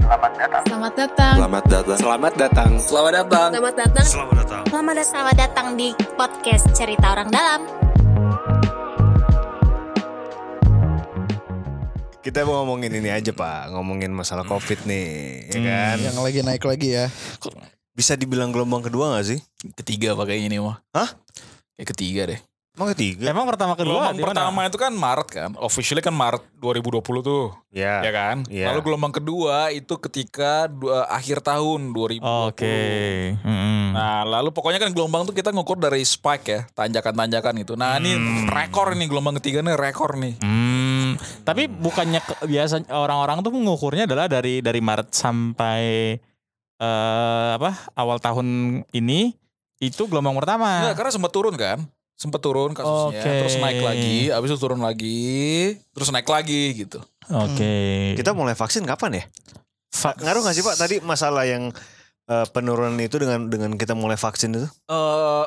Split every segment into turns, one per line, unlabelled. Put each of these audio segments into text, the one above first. Selamat datang.
Selamat datang.
Selamat datang.
Selamat
Selamat
datang.
datang.
Selamat datang.
Selamat datang.
Selamat datang. Selamat datang di podcast Cerita Orang Dalam.
Kita mau ngomongin ini aja pak, ngomongin masalah covid nih, ya kan?
Yang lagi naik lagi ya.
Bisa dibilang gelombang kedua gak sih?
Ketiga pakainya ini mah.
Hah?
Kayak ketiga deh.
Emang ketiga?
Emang pertama kedua
Gelombang
di mana?
pertama itu kan Maret kan, officially kan Maret 2020 tuh, ya
Ya.
kan?
Iya.
Lalu gelombang kedua itu ketika dua, akhir tahun 2020.
Oke. Mm-mm.
Nah, lalu pokoknya kan gelombang tuh kita ngukur dari spike ya, tanjakan-tanjakan gitu. Nah, ini rekor nih gelombang ketiga nih rekor nih.
Hmm, tapi bukannya ke- biasa orang-orang tuh mengukurnya adalah dari dari Maret sampai eh apa awal tahun ini itu gelombang
Nah,
pertama.
karena sempat turun kan? Sempat turun kasusnya,
Ah. Oke.
terus naik lagi, habis itu turun lagi, terus naik lagi gitu.
Oke.
Hmm. Kita mulai vaksin kapan ya? Ngaruh gak sih pak tadi masalah yang eh, penurunan itu dengan dengan kita mulai vaksin itu?
eh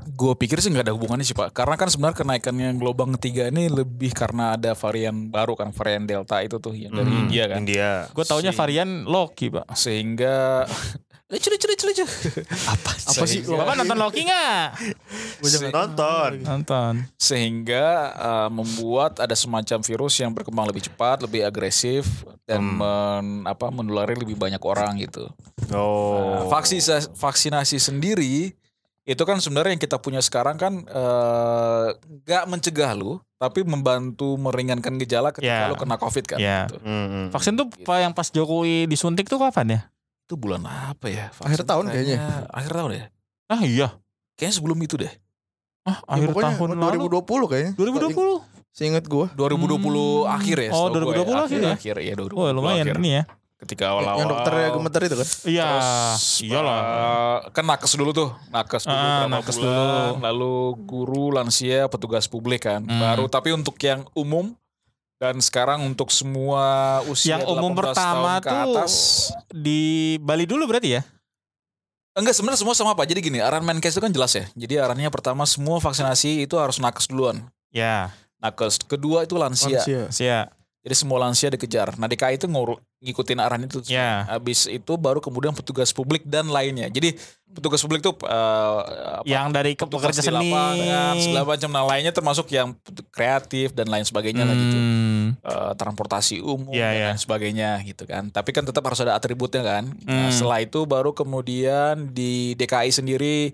gue pikir sih nggak ada hubungannya sih pak, karena kan sebenarnya kenaikannya gelombang ketiga ini lebih karena ada varian baru kan varian delta itu tuh yang dari
Hmm,
India kan,
India.
Gue taunya varian Loki, Pak.
sehingga lucu lucu lucu lucu apa
Apa sih?
Bapak nonton Loki nggak?
Nonton.
Nonton.
sehingga eh, membuat ada semacam virus yang berkembang lebih cepat, lebih agresif dan
Hmm.
men- apa menulari lebih banyak orang gitu. Ah,
Oh.
Vaksinasi vaksinasi sendiri itu kan sebenarnya yang kita punya sekarang kan eh, nggak mencegah lu, tapi membantu meringankan gejala ketika
Ya.
lu kena covid kan.
Ya.
gitu.
Hmm, hmm.
Vaksin tuh Pak, yang pas Jokowi disuntik tuh kapan ya?
Itu bulan apa ya?
Akhir tahun kayaknya.
Akhir tahun ya.
Ah iya.
Kayaknya sebelum itu deh.
Ah
Ya,
akhir
pokoknya
tahun 2020.
2020 kayaknya.
lalu. 2020.
Seingat gua.
2020
Hmm.
akhir ya.
Oh,
setahu gue
2020
ya.
akhir
akhir
ya?
Akhir ya 2020
Wah lumayan
akhir.
ini ya.
Ketika awal-awal.
Yang
Oh,
dokternya gemeter itu kan.
Iya.
Terus,
Iyalah.
eh, kan nakes dulu tuh, nakes dulu
Ah,
berapa
nakes
bulan, lalu guru, lansia, petugas publik kan.
Hmm.
Baru tapi untuk yang umum dan sekarang untuk semua usia
Yang umum
18
pertama
tahun ke
tuh-
atas.
Di Bali dulu berarti ya?
Enggak sebenarnya semua sama apa. Jadi gini, arahan Menkes itu kan jelas ya. Jadi arahannya pertama semua vaksinasi itu harus nakes duluan.
Ya.
Nakes. Nah, Kedua itu lansia.
Lansia.
Sia.
Jadi semua lansia dikejar. Nah DKI itu ngurut ngikutin arahan itu.
Ya.
Habis itu baru kemudian petugas publik dan lainnya. Jadi petugas publik tuh eh, apa,
Yang dari ke-
petugas
pekerja
di
seni.
lapangan, segala macam nah lainnya termasuk yang kreatif dan lain sebagainya lah gitu.
Hmm.
Eh, transportasi umum
Iya,
dan
iya.
lain sebagainya gitu kan. Tapi kan tetap harus ada atributnya kan. Nah,
Hmm.
setelah itu baru kemudian di DKI sendiri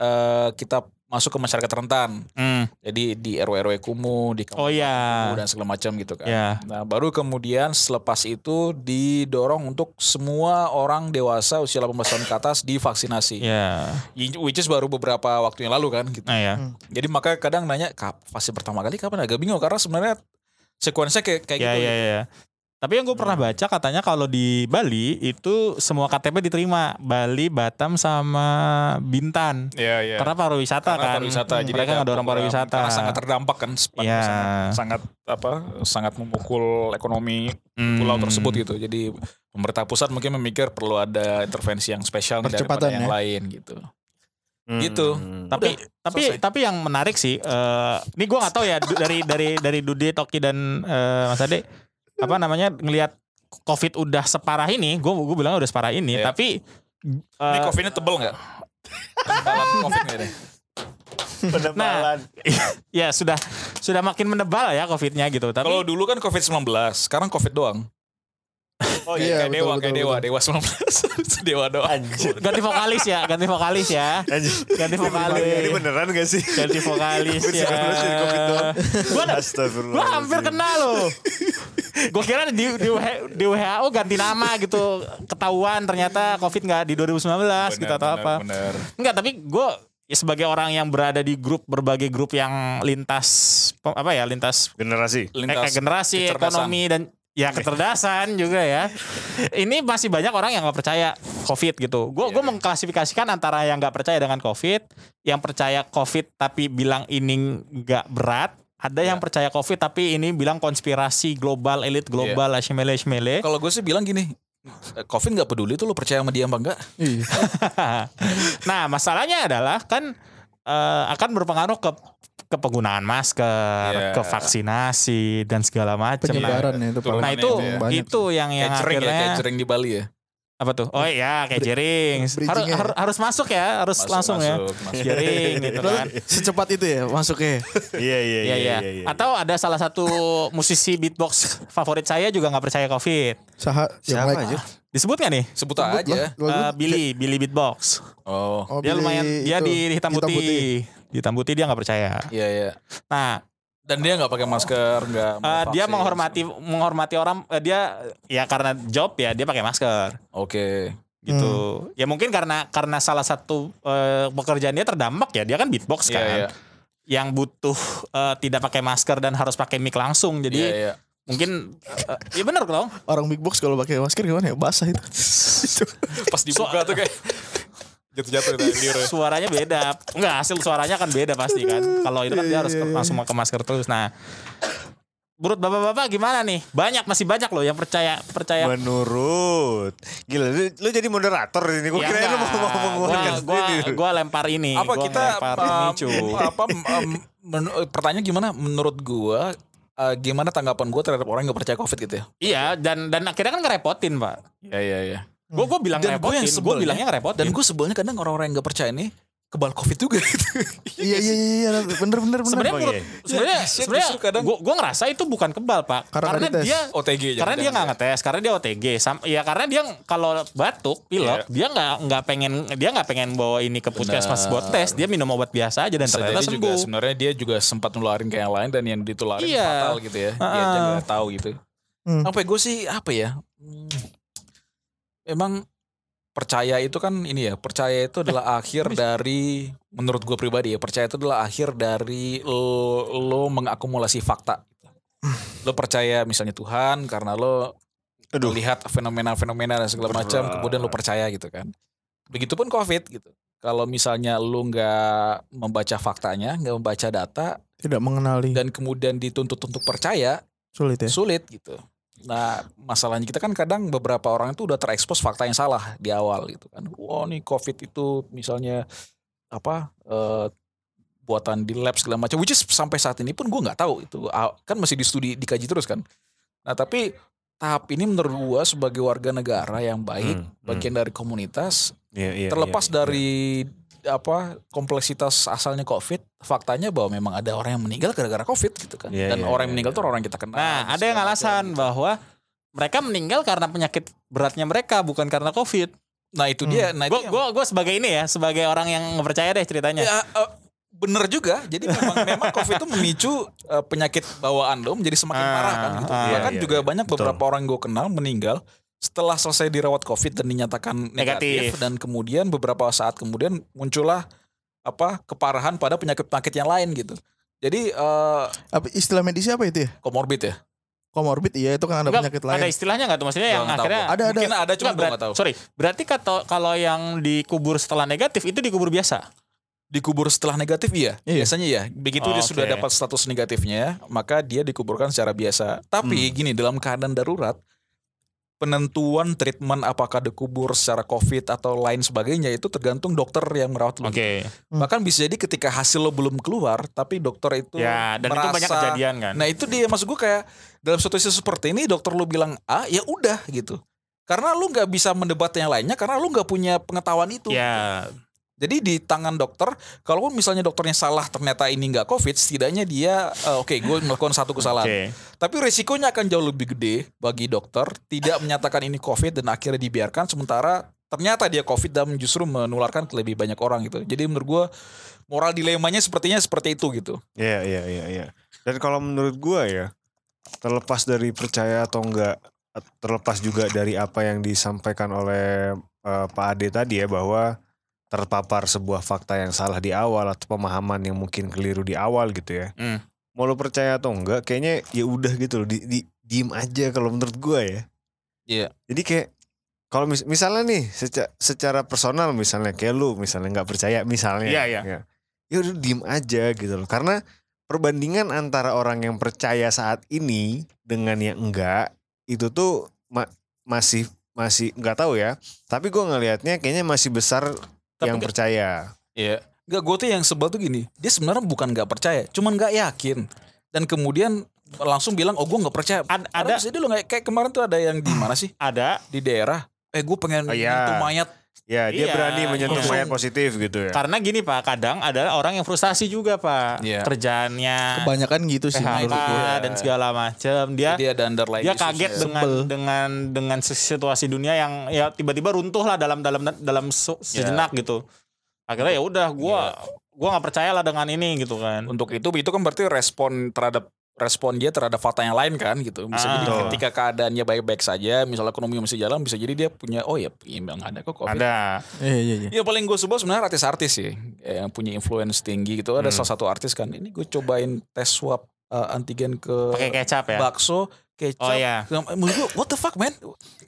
eh, kita masuk ke masyarakat rentan.
Hmm.
Jadi di RW-RW kumuh, di kampung
Oh ya.
dan segala macam gitu kan.
Ya.
Nah, baru kemudian selepas itu didorong untuk semua orang dewasa usia 18 tahun ke atas divaksinasi.
Ya.
Y- Which is baru beberapa waktu yang lalu kan gitu.
Nah ya.
Jadi maka kadang nanya "Kap- vaksin pertama kali kapan agak bingung karena sebenarnya sekuensinya kayak kayak
Ya
gitu. Hmm.
ya ya. Tapi yang gue pernah baca katanya kalau di Bali itu semua KTP diterima Bali, Batam sama Bintan.
Iya, iya.
Karena pariwisata
Karena
kan.
pariwisata,
Hmm, mereka
ada
ngedorong
program.
pariwisata.
Karena sangat terdampak kan,
Iya.
sangat, sangat apa, sangat memukul ekonomi
Hmm.
pulau tersebut gitu. Jadi pemerintah pusat mungkin memikir perlu ada intervensi yang spesial nih daripada
Percepatan
yang
ya.
lain gitu.
Hmm.
Gitu.
Tapi tapi
selesai.
tapi yang menarik sih eh, ini gue nggak tahu ya du- dari dari dari Dude, Toki dan eh, Mas Ade apa namanya ngelihat Covid udah separah ini, gue gue bilang udah separah ini,
Iya.
tapi
Ini
eh,
kopinya tebel nggak? Tebalan covid nggak deh?
Penebalan.
ya sudah sudah makin menebal ya Covidnya gitu. Tapi
Kalau dulu kan covid 19, sekarang covid doang.
Oh
Iya,
kayak
betul,
dewa,
betul,
kayak
betul.
dewa, dewa 19. dewa doang.
Anjir.
ganti vokalis ya, ganti vokalis ya.
Anjir.
Ganti
Ini
vokalis.
beneran- Ini beneran gak sih?
Ganti vokalis ya.
Beneran sih, COVID doang.
Iya. Gua ada-
Astagfirullah.
Gua hampir kena loh. Gue kira di, di, W- di WHO ganti nama gitu. Ketahuan ternyata COVID nggak di 2019 gitu atau apa.
Bener.
Enggak, tapi gue sebagai orang yang berada di grup berbagai grup yang lintas pe- apa ya lintas,
Generasi.
eh, eh,
Lintas
generasi
kecerdasan.
ekonomi dan ya kecerdasan juga ya ini masih banyak orang yang nggak percaya covid gitu
Iya,
gue gue mengklasifikasikan antara yang nggak percaya dengan covid yang percaya covid tapi bilang ini nggak berat ada
Iya.
yang percaya covid tapi ini bilang konspirasi global elit global
Iya.
yeah. ashmele ashmele
Kalau gue sih bilang gini, covid nggak peduli tuh lo percaya sama dia apa enggak?
Iya.
nah masalahnya adalah kan eh, akan berpengaruh ke ke penggunaan masker,
Iya.
ke vaksinasi dan segala macam. Nah,
penyebaran ya itu
Turun
paling
nah, itu
Iya.
banyak.
itu yang yang
catering ya,
akhirnya
catering di Bali ya.
apa tuh? Oh iya, kayak jering. Harus
bridging-nya.
har- harus masuk ya, harus
Masuk,
langsung ya.
masuk, masuk.
Jering gitu kan.
secepat itu ya masuknya
Iya iya
Iya iya. Atau ada salah satu musisi beatbox favorit saya juga nggak percaya Covid.
Saha, yang
siapa
like-
aja?
Disebut nggak nih?
Sebut
Sebut
aja.
lah. Lagu-
Eh, Billy, Billy Beatbox.
Oh.
Oh,
Dia
Billy
lumayan dia
itu,
di hitam putih. Hitam putih dia nggak percaya.
Iya iya.
Nah,
Dan dia nggak pakai masker, nggak
eh,
mau
dia
Oh, vaksin.
menghormati menghormati orang eh, dia ya karena job ya dia pakai masker
Oke.
gitu. Ya mungkin karena karena salah satu eh, pekerjaan dia terdampak ya. Dia kan beatbox kan.
Iya iya.
Yang butuh eh, tidak pakai masker dan harus pakai mic langsung. Jadi
Iya iya.
mungkin eh, eh, ya benar dong.
Orang big box kalau pakai masker gimana ya basah itu.
Pas dibuka tuh kayak jatuh-jatuh dari
ya.
diri.
suaranya beda. Enggak, hasil suaranya kan beda pasti kan. Kalau itu kan dia
iya,
harus ke- langsung pakai masker terus. Nah, menurut bapak-bapak gimana nih? Banyak masih banyak loh yang percaya percaya.
Menurut Gila lu, lu jadi moderator di sini Gue
Ya
kira lu
enggak.
mau kan. mau mengeluarkan
gua, gua, gua lempar ini.
kan. apa
gua
kita
lempar
um,
ini cu.
apa um, menu- pertanyaan gimana menurut gua uh, gimana tanggapan gua terhadap orang yang gak percaya covid gitu ya
Iya, dan dan akhirnya kan ngerepotin, Pak.
iya iya iya
Gue gua bilang
Dan gua
ngerepotin,
yang
gue
sebelnya-
bilangnya ngerepotin.
dan gua sebelnya kadang orang-orang yang gak percaya ini kebal covid juga gitu
Iya iya iya iya bener bener bener.
sebenarnya
Bang,
menurut
iya.
sebenarnya
Ya, shit,
sebenarnya
justru kadang-
gua gua ngerasa itu bukan kebal, Pak.
Karena
Karena,
dites.
dia
OTG
karena dia nggak ngetes karena dia OTG Sam- ya karena dia kalau batuk
Iya.
pilek dia nggak nggak pengen dia nggak pengen bawa ini ke puskesmas
Benar.
buat tes dia minum obat biasa aja dan
juga
ternyata sembuh
sebenarnya dia juga sempat nularin ke yang lain dan yang ditularin
Iya.
fatal gitu ya dia aja
Ah.
gak tahu gitu
Hmm.
sampai gue sih apa ya hmm, emang percaya itu kan ini ya percaya itu adalah akhir dari menurut gue pribadi ya percaya itu adalah akhir dari lo, lo mengakumulasi fakta lo percaya misalnya Tuhan karena lo
Aduh.
lihat fenomena-fenomena dan segala macam kemudian lo percaya gitu kan begitupun covid gitu kalau misalnya lo nggak membaca faktanya nggak membaca data
Tidak mengenali
dan kemudian dituntut untuk percaya
sulit
Iya.
ya.
sulit gitu. Nah, masalahnya kita kan kadang beberapa orang itu udah terekspos fakta yang salah di awal gitu kan. Wow, nih COVID itu misalnya apa eh, buatan di lab segala macam. Which is sampai saat ini pun gue nggak tahu itu Ah, kan masih di studi dikaji terus kan. Nah, tapi tahap ini menurut gue sebagai warga negara yang
Hmm.
baik,
Iya,
bagian dari komunitas, terlepas dari apa kompleksitas asalnya COVID, faktanya bahwa memang ada orang yang meninggal gara-gara COVID gitu kan.
Iya,
Dan
iya,
orang yang
iya,
meninggal
iya.
tuh orang yang kita kenal.
nah ada
segala
yang
macam.
alasan bahwa mereka meninggal karena penyakit beratnya mereka bukan karena covid
Nah itu dia. Nah itu
gue
yang-
gue sebagai ini ya sebagai orang yang nggak percaya deh ceritanya
Ya, eh, bener juga. Jadi memang memang COVID itu memicu eh, penyakit bawaan lo menjadi semakin
Ah,
parah kan. Gitu.
ah,
Bahkan
iya, iya,
juga
iya.
banyak
Betul.
beberapa orang gue kenal meninggal setelah selesai dirawat COVID dan dinyatakan negatif,
Negatif.
dan kemudian beberapa saat kemudian muncullah apa keparahan pada penyakit-penyakit yang lain gitu. Jadi eh,
Apa istilah medisnya apa itu ya?
komorbid ya.
Komorbid iya itu kan ada
Nggak,
penyakit
ada
lain.
istilahnya nggak tuh maksudnya
Gua
yang
nggak tahu
akhirnya
gua.
Ada, ada.
Mungkin ada cuma
Nggak,
gue
berat-
nggak tahu.
sorry berarti kata- kalau yang dikubur setelah negatif itu dikubur biasa
Dikubur setelah negatif iya.
Iya.
Biasanya ya. Begitu
Oh,
dia sudah
oke.
dapat status negatifnya, maka dia dikuburkan secara biasa. Tapi
Hmm.
gini dalam keadaan darurat penentuan treatment apakah dikubur secara COVID atau lain sebagainya itu tergantung dokter yang merawat lo.
Hmm.
Bahkan bisa jadi ketika hasil lo belum keluar, tapi dokter itu
ya dan itu
merasa-
banyak kejadian kan
Nah itu dia maksud gue kayak dalam situasi seperti ini dokter lu bilang A ya udah gitu. Karena lu nggak bisa mendebat yang lainnya karena lu nggak punya pengetahuan itu.
ya
Jadi di tangan dokter, kalaupun misalnya dokternya salah ternyata ini nggak COVID, setidaknya dia eh, oke gue melakukan satu kesalahan.
Oke.
Tapi resikonya akan jauh lebih gede bagi dokter tidak menyatakan ini COVID dan akhirnya dibiarkan sementara ternyata dia COVID dan justru menularkan ke lebih banyak orang gitu. Jadi menurut gue moral dilemanya sepertinya seperti itu gitu.
Iya iya iya iya. Dan kalau menurut gua ya terlepas dari percaya atau enggak terlepas juga dari apa yang disampaikan oleh eh, Pak Ade tadi ya bahwa terpapar sebuah fakta yang salah di awal atau pemahaman yang mungkin keliru di awal gitu ya.
Hmm.
Mau lo percaya atau enggak kayaknya ya udah gitu loh di, di diem aja kalau menurut gua ya.
Iya.
Jadi kayak kalau mis- misalnya nih seca- secara personal misalnya kayak lu misalnya nggak percaya misalnya
Iya, iya.
ya. Ya udah diem aja gitu loh karena perbandingan antara orang yang percaya saat ini dengan yang enggak itu tuh ma- masih masih nggak tahu ya tapi gue ngelihatnya kayaknya masih besar
Tapi
yang
nggak-
percaya
Iya. Gak gue tuh yang sebel tuh gini. Dia sebenarnya bukan gak percaya, cuman gak yakin. Dan kemudian langsung bilang, oh gue gak percaya.
Ad-
Ada
ada
bisa dulu nggak kayak kemarin tuh ada yang di mana sih
ada
di daerah. Eh gue pengen
Oh, iya.
nyentuh mayat.
Ya, dia
Iya,
berani menyentuh
langsung.
mayat positif gitu
Iya.
ya.
karena gini Pak, kadang ada orang yang frustasi juga Pak
Iya.
kerjaannya,
Kebanyakan gitu sih
PHK
menurut gue.
dan segala macam. Dia
iya. Dia ada underline.
Iya. dia
issues
kaget
ya.
dengan
Sebel.
dengan dengan situasi dunia yang ya tiba-tiba runtuh lah dalam dalam dalam se-
Iya.
sejenak gitu akhirnya ya udah gua gua nggak percaya lah dengan ini gitu kan
Untuk itu itu kan berarti respon terhadap respon dia terhadap fakta yang lain kan gitu. Bisa
Ah.
jadi
Betul.
ketika keadaannya baik-baik saja, misalnya ekonomi masih jalan, bisa jadi dia punya oh ya memang ada kok COVID.
Ada.
Iya iya iya.
Ya paling gue sebel sebenarnya artis-artis sih eh, yang punya influence tinggi gitu. Ada
Hmm.
salah satu artis kan, ini gue cobain tes swab eh, antigen ke
pakai kecap ya
bakso, kecap.
oh ya
Gam- Menurut gue what the fuck man?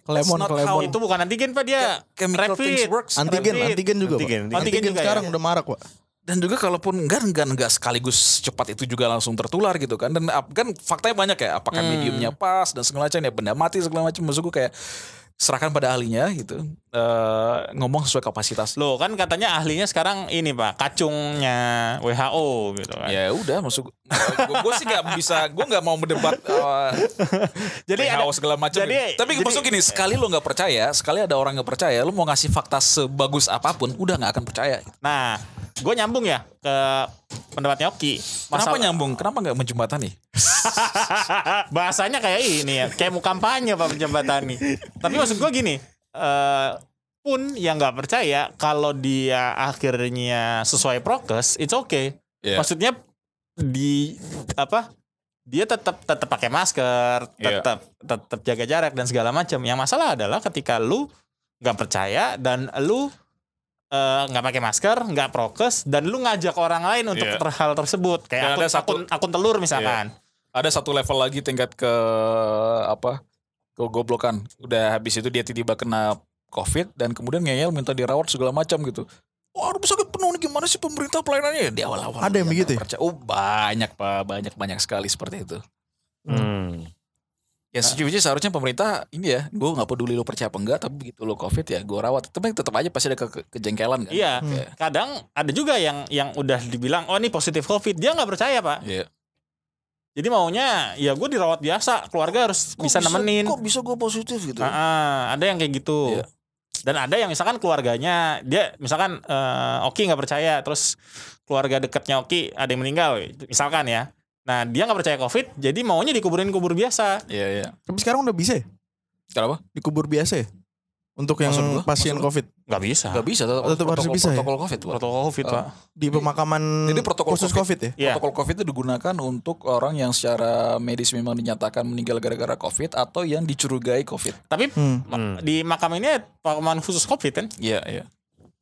That's
Lemon
not
ke
how
lemon.
itu bukan antigen pak dia
chemical
Ya, Rapid.
things works.
Antigen,
Rapid.
antigen juga, Pak.
Antigen,
Antigen,
antigen.
juga ya?
sekarang udah marak, Pak.
Dan juga kalaupun enggak enggak enggak sekaligus cepat itu juga langsung tertular gitu kan. Dan ap- kan faktanya banyak ya apakah
Hmm.
mediumnya pas dan segala macam ya benda mati segala macam maksud gue kayak serahkan pada ahlinya gitu. Eh, ngomong sesuai kapasitas.
loh kan katanya ahlinya sekarang ini pak kacungnya WHO gitu kan
Ya udah maksud gue sih nggak bisa gue nggak mau mendebat eh,
jadi
jadi
ada,
segala macam.
jadi-
gitu. Tapi
jadi-
maksud gini, sekali lo nggak percaya, sekali ada orang nggak percaya, lo mau ngasih fakta sebagus apapun, udah nggak akan percaya.
nah gue nyambung ya ke pendapatnya Oki
Kenapa
Masalah-
nyambung? Kenapa nggak menjembatani?
Bahasanya kayak ini ya, kayak mau kampanye Pak Penjembatani. Tapi maksud gue gini, eh, pun yang nggak percaya kalau dia akhirnya sesuai prokes, it's okay.
Iya.
Maksudnya di apa? Dia tetap tetap pakai masker,
Iya.
tetap tetap jaga jarak dan segala macam. Yang masalah adalah ketika lu nggak percaya dan lu eh, nggak pakai masker, nggak prokes, dan lu ngajak orang lain untuk
Iya.
ter- hal tersebut,
Dan ada
kayak akun,
satu-
akun akun telur misalkan.
Ada satu level lagi tingkat ke apa? Ke goblokan. Udah habis itu dia tiba-tiba kena COVID dan kemudian ngeyel minta dirawat segala macam gitu. Wah, rumah sakit penuh nih gimana sih pemerintah pelayanannya? Di awal-awal
Ada
dia
yang begitu
nggak
ya?
percaya. Oh banyak pak, banyak banyak sekali seperti itu.
Hmm.
Nah.
Ya sejujurnya seharusnya pemerintah ini ya, gue nggak peduli lo percaya apa enggak, tapi begitu lo covid ya gue rawat. Tapi tetap aja pasti ada ke ke- kejengkelan kan.
Iya.
Kayak,
kadang ada juga yang yang udah dibilang oh ini positif covid dia nggak percaya
Hmm.
pak
Iya.
jadi maunya ya gue dirawat biasa keluarga harus
Kok
bisa, nemenin
Kok bisa gue positif gitu?
Ah, ah, ada yang kayak gitu
Iya.
dan ada yang misalkan keluarganya dia misalkan eh, Oki nggak percaya terus keluarga dekatnya Oki ada yang meninggal misalkan ya nah dia nggak percaya covid jadi maunya dikuburin kubur biasa
Iya iya.
Tapi sekarang udah bisa ya?
Kenapa?
Dikubur biasa ya? Untuk yang
Maksud gua?
pasien
Maksud gua?
COVID
nggak bisa
Gak bisa tetap,
Tetap harus
protokol,
bisa ya?
protokol covid. Pak.
protokol covid
Eh,
pak
di pemakaman
Jadi protokol
khusus
COVID.
COVID, ya?
Iya.
Protokol covid itu digunakan untuk orang yang secara medis memang dinyatakan meninggal gara-gara covid atau yang dicurigai covid.
tapi
Hmm.
Hmm.
di makam ini pemakaman khusus covid kan
Iya iya.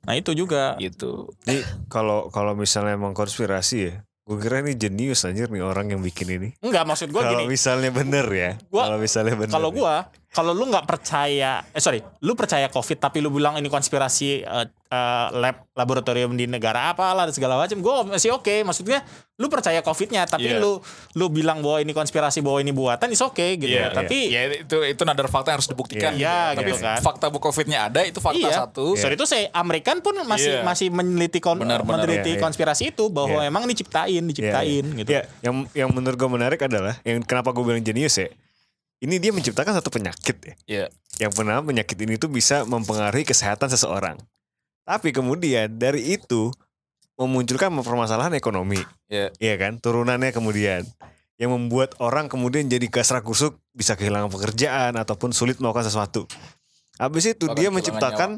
nah itu juga
Gitu.
Ini kalau kalau misalnya emang konspirasi ya, gue kira ini jenius anjir nih orang yang bikin ini.
Enggak maksud gue
Kalau
gini
misalnya bener ya,
Gua-
kalau misalnya bener.
Kalau
ya.
gua, kalau lu nggak percaya, eh sorry, lu percaya covid tapi lu bilang ini konspirasi eh, eh, lab laboratorium di negara apalah dan segala macam, gua masih oke. Maksudnya lu percaya covidnya tapi
Iya.
lu lu bilang bahwa ini konspirasi bahwa ini buatan, is oke gitu.
Iya,
tapi
Ya itu itu nadar fakta yang harus dibuktikan.
Iya,
gitu.
gitu kan.
Fakta bu covidnya ada itu fakta
Iya.
satu.
sorry itu saya Amerikan pun
Iya.
masih masih meneliti kon-
Benar, benar.
Iya,
meneliti
iya.
konspirasi itu bahwa
Iya.
emang ini ciptain, diciptain
Iya, iya.
gitu.
Iya, yang yang menurut gue menarik adalah yang kenapa gue bilang jenius ya. Ini dia menciptakan satu penyakit ya.
Iya.
Yang benar penyakit ini tuh bisa mempengaruhi kesehatan seseorang. Tapi kemudian dari itu memunculkan permasalahan ekonomi.
Iya.
Iya kan? Turunannya kemudian yang membuat orang kemudian jadi kasrak kusuk bisa kehilangan pekerjaan ataupun sulit melakukan sesuatu. Habis itu
Bahkan
dia
kehilangan
menciptakan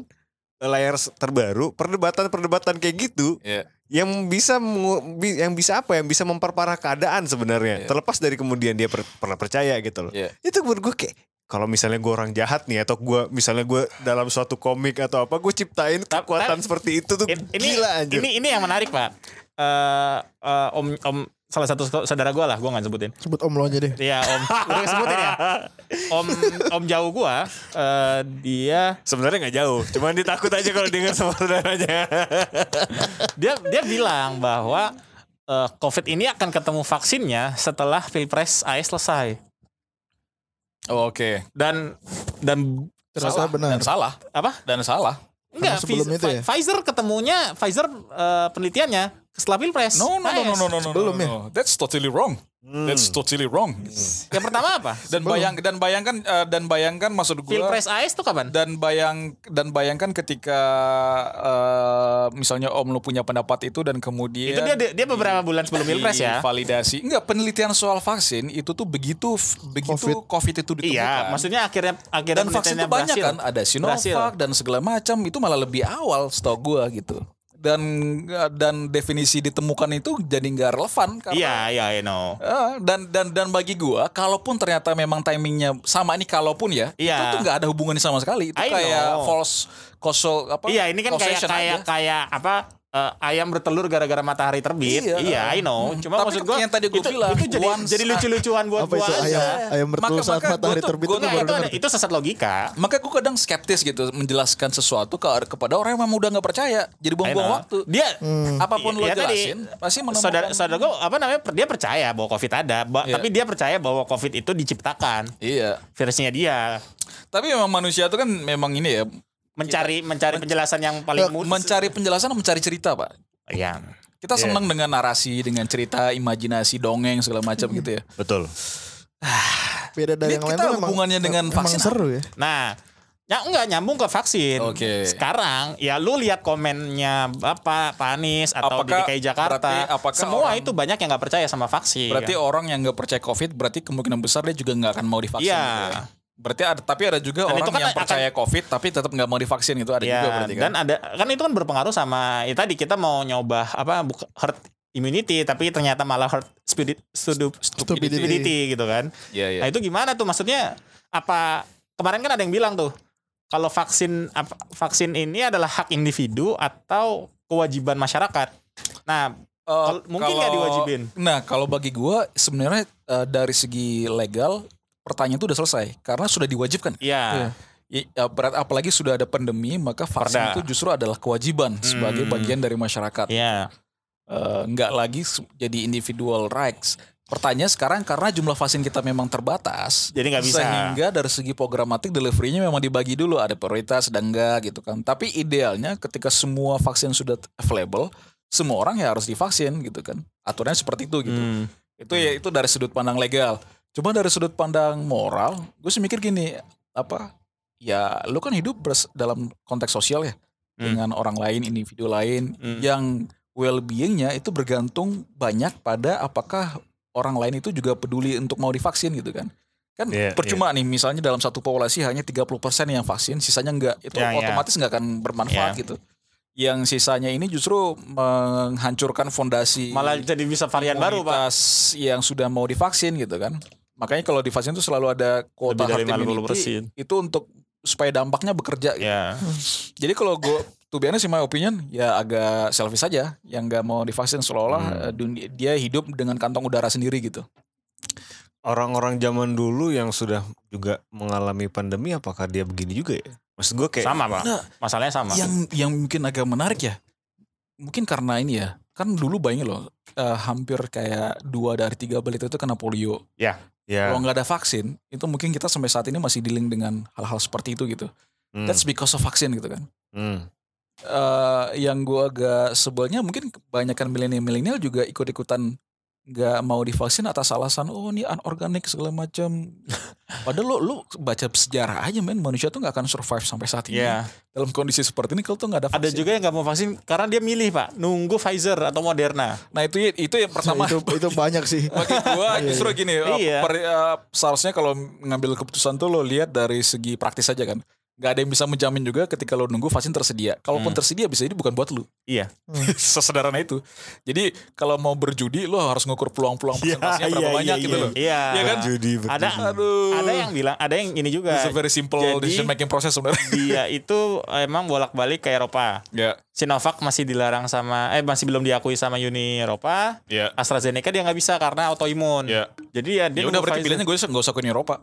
layar s- terbaru perdebatan-perdebatan kayak gitu
Iya.
yang bisa mengu- bi- yang bisa apa yang bisa memperparah keadaan sebenarnya
Iya.
terlepas dari kemudian dia per- pernah percaya gitu loh
Iya.
itu menurut gue kayak kalau misalnya gue orang jahat nih atau gue misalnya gue dalam suatu komik atau apa gue ciptain
Tap-
kekuatan
tap-
seperti itu tuh
It- ini
gila anjir
ini ini yang menarik pak. Eh, eh, om om salah satu saudara gua lah, gua nggak sebutin.
Sebut om lo aja deh.
Iya om, udah sebutin ya. Om om jauh gua, eh, dia
sebenarnya nggak jauh cuman dia takut aja kalau denger sama saudaranya
dia dia bilang bahwa eh, COVID ini akan ketemu vaksinnya setelah pilpres AS selesai
Oh, Oke.
dan dan
Ternyata
Salah.
benar.
Dan salah.
apa
Dan salah.
Enggak,
Karena sebelum
Pfiz-
itu ya?
Pfizer ketemunya Pfizer eh, penelitiannya setelah Pilpres.
No, no, no, no, no, no, no,
Sebelum
no,
ya?
no. That's totally wrong.
Hmm.
That's totally wrong.
Yang pertama apa?
Dan bayang dan bayangkan eh, dan bayangkan maksud gue
Pilpres AS tuh kapan?
dan bayang dan bayangkan ketika eh, misalnya Om lu punya pendapat itu dan kemudian
Itu dia dia beberapa bulan
Iya,
sebelum Pilpres ya.
Validasi. Enggak, penelitian soal vaksin itu tuh begitu begitu COVID, itu ditemukan.
Iya, maksudnya akhirnya akhirnya
dan vaksin itu
penelitiannya
banyak
berhasil.
kan, ada Sinovac
Berhasil.
dan segala macam itu malah lebih awal setahu gua gitu. Dan dan definisi ditemukan itu jadi nggak relevan karena
Iya, iya, I know.
Ah, dan dan dan bagi gua kalaupun ternyata memang timingnya sama ini kalaupun ya
Iya.
itu tuh nggak ada hubungannya sama sekali itu
I
kayak
know.
false causal apa
Iya, ini kan kayak
causation
kayak
aja.
kayak apa eh, ayam bertelur gara-gara matahari terbit.
Iya.
Iya, I know. Cuma
Tapi
maksud gua
yang tadi gua
itu,
bilang,
itu jadi
once-
jadi lucu-lucuan buat
Apa
gua
itu
aja.
ayam ayam bertelur
Maka-
saat
maka
matahari
gua tuh-
terbit
gua
itu
tuh-
Nah,
baru
itu, ada,
dengar.
itu sesat logika.
maka gua kadang skeptis gitu menjelaskan sesuatu ke, kepada orang yang memang udah nggak percaya jadi
I
buang-buang
know.
waktu
Dia
Hmm,
apapun lo
Ya, tadi,
jelasin pasti menemukan
saudara saudara gue apa namanya per- dia percaya bahwa covid ada ba-
Iya.
tapi dia percaya bahwa covid itu diciptakan
iya
virusnya dia
tapi memang manusia itu kan memang ini ya
mencari mencari penjelasan yang paling Iya. mudah
mencari penjelasan mencari cerita pak
yang
kita senang dengan narasi dengan cerita imajinasi dongeng segala macam gitu ya
Betul.
Beda dari
Ini
yang lain
kita
tuh memang-
hubungannya dengan
memang
vaksin apa?
seru ya.
nah ya enggak nyambung ke vaksin
Oke.
sekarang ya lu lihat komennya bapak Pak Anies atau
Apakah-
di DKI Jakarta
berarti apakah
semua
orang-
itu banyak yang nggak percaya sama vaksin
Berarti oh, orang yang nggak percaya COVID berarti kemungkinan besar dia juga nggak akan mau divaksin.
Iya.
gitu ya. Berarti ada tapi ada juga
Dan itu
orang
kan
yang
akan-
percaya COVID tapi tetap nggak mau divaksin gitu ada
Ya,
juga berarti kan.
dan ada kan itu kan berpengaruh sama ya tadi kita mau nyoba apa buka- herd immunity tapi ternyata malah herd spirit studu-
Stupidity.
stupidity gitu kan.
Iya iya.
Nah itu gimana tuh maksudnya apa kemarin kan ada yang bilang tuh kalau vaksin apa, vaksin ini adalah hak individu atau kewajiban masyarakat. Nah
Eh,
kal- mungkin nggak
kalau-
diwajibin?
Nah kalau bagi gua sebenarnya eh, dari segi legal pertanyaan itu udah selesai karena sudah diwajibkan.
ya
I- eh, berat apalagi sudah ada pandemi maka vaksin
Perda.
itu justru adalah kewajiban sebagai
Hmm.
bagian dari masyarakat.
ya
Eh, nggak lagi se- jadi individual rights. Pertanyaan sekarang karena jumlah vaksin kita memang terbatas,
Jadi nggak bisa.
Sehingga dari segi programatik deliverynya memang dibagi dulu ada prioritas dan enggak gitu kan. Tapi idealnya ketika semua vaksin sudah t- available, semua orang ya harus divaksin gitu kan. Aturannya seperti itu gitu.
Hmm.
Itu ya itu dari sudut pandang legal. Cuma dari sudut pandang moral, gue sih mikir gini, apa? Ya lu kan hidup bers- dalam konteks sosial ya
Hmm.
dengan orang lain, individu lain
Hmm.
yang well-beingnya itu bergantung banyak pada apakah orang lain itu juga peduli untuk mau divaksin gitu kan. Kan
Iya,
percuma nih misalnya dalam satu populasi hanya 30% yang vaksin, sisanya enggak. Itu
Ya, ya.
otomatis nggak akan bermanfaat gitu. Yang sisanya ini justru menghancurkan fondasi
malah jadi bisa varian
Iya,
baru pak.
komunitas yang sudah mau divaksin gitu kan. Makanya kalau divaksin itu selalu ada kuota
Lebih dari
herd immunity
50%.
itu untuk supaya dampaknya bekerja gitu.
Ya
Jadi kalau gue tuh biasanya sih my opinion ya agak selfish aja yang nggak mau divaksin
Hmm.
seolah-olah eh, dunia, dia hidup dengan kantong udara sendiri gitu.
Orang-orang zaman dulu yang sudah juga mengalami pandemi apakah dia begini juga ya? Maksud gue kayak
sama pak.
Nah,
Masalahnya sama.
Yang yang mungkin agak menarik ya. Mungkin karena ini ya. Kan dulu bayangin loh eh, hampir kayak dua dari tiga balita itu kena polio.
ya
Kalau nggak ada vaksin, itu mungkin kita sampai saat ini masih dealing dengan hal-hal seperti itu gitu.
hmm,
That's because of vaksin gitu kan.
hmm.
Eh, yang gua agak sebelnya mungkin kebanyakan milenial-milenial juga ikut-ikutan nggak mau divaksin atas alasan oh ini anorganik segala macam. Padahal lo lu baca sejarah aja men manusia tuh nggak akan survive sampai saat ini.
Ya.
Dalam kondisi seperti ini kalau tuh nggak ada
Ada
vaksin.
juga yang nggak mau vaksin karena dia milih pak, nunggu Pfizer atau Moderna.
Nah itu itu yang pertama.
Ya, Itu itu banyak sih.
Bagi gua
Iya,
justru
iya.
gini,
Iya.
per- eh, seharusnya kalau ngambil keputusan tuh lo lihat dari segi praktis aja kan. Gak ada yang bisa menjamin juga ketika lo nunggu vaksin tersedia. Kalaupun tersedia bisa jadi bukan buat lo.
Hmm. Iya.
Sesederhana itu. Jadi kalau mau berjudi lo harus ngukur peluang-peluang persentasenya berapa banyak gitu loh.
Iya. Hmm.
Iya kan?
Judi
Ada
Aduh.
ada yang bilang, ada yang ini juga.
It's a very simple
Jadi-
decision making process sebenarnya.
dia itu emang bolak-balik ke Eropa.
ya.
Sinovac masih dilarang sama eh masih belum diakui sama Uni Eropa.
Ya.
AstraZeneca dia nggak bisa karena autoimun.
Ya.
Jadi ya dia
Ya udah
nunggu
berarti
Pfizer.
pilihannya gue nggak usah ke Uni Eropa.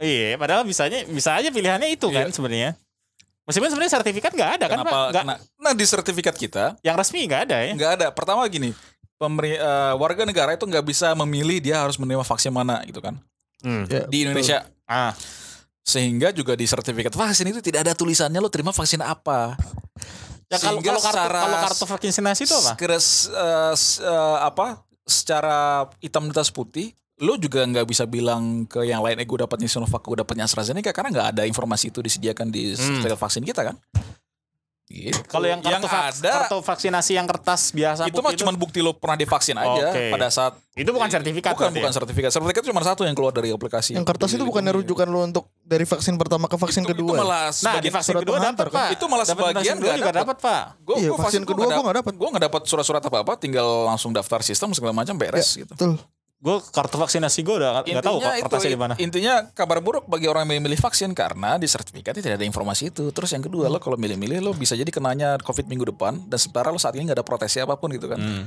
Iya, padahal bisanya bisa aja pilihannya itu kan
Iya.
sebenarnya. Meskipun sebenarnya sertifikat nggak ada kan
Kenapa?
Pak? Nggak-
kena- nah di sertifikat kita
yang resmi nggak ada ya.
nggak ada. Pertama gini, pemeri- eh, warga negara itu nggak bisa memilih dia harus menerima vaksin mana gitu kan.
Hmm.
Ya,
Di
betul.
Indonesia
Ah,
Sehingga juga di sertifikat vaksin itu tidak ada tulisannya lo terima vaksin apa.
Ya kalau
Sehingga
kalau kartu
secara-
kalau kartu vaksinasi itu apa?
Sekira- s- eh, s- eh, apa? Secara hitam di atas putih, lo juga nggak bisa bilang ke yang lain, eh gue dapatnya Sinovac, gue dapatnya AstraZeneca, karena nggak ada informasi itu disediakan di sertifikat vaksin kita kan. Gitu.
Hmm. Kalau yang kartu, vak-
ada,
kartu vaksinasi yang kertas biasa
itu mah
putih
cuma bukti lo pernah divaksin aja
Oke.
pada saat
itu bukan sertifikat
bukan
berarti
bukan
ya?
sertifikat sertifikat cuma satu yang keluar dari aplikasi
Yang kertas itu bukannya rujukan lo untuk dari vaksin pertama ke vaksin
Iya. Itu-
kedua. ya?
itu malah
Nah,
sebagian
di vaksin
surat
kedua
pengantar
dapat,
kan?
Pak.
Itu malah
Dapat
sebagian
vaksin kedua
nggak
juga
dapat.
dapat, Pak.
Gua,
Iya, vaksin kedua gua nggak dapat.
Gue nggak dapat surat-surat apa-apa, tinggal langsung daftar sistem segala macam beres gitu.
Ya, Betul.
Gue kartu vaksinasi gue udah nggak tahu Pak kertasnya
itu,
di mana.
intinya kabar buruk bagi orang yang milih vaksin karena di sertifikatnya tidak ada informasi itu. Terus yang kedua, lo
Hmm.
kalau milih-milih lo bisa jadi kenanya COVID minggu depan dan sementara lo saat ini nggak ada proteksi apapun gitu kan.
Hmm.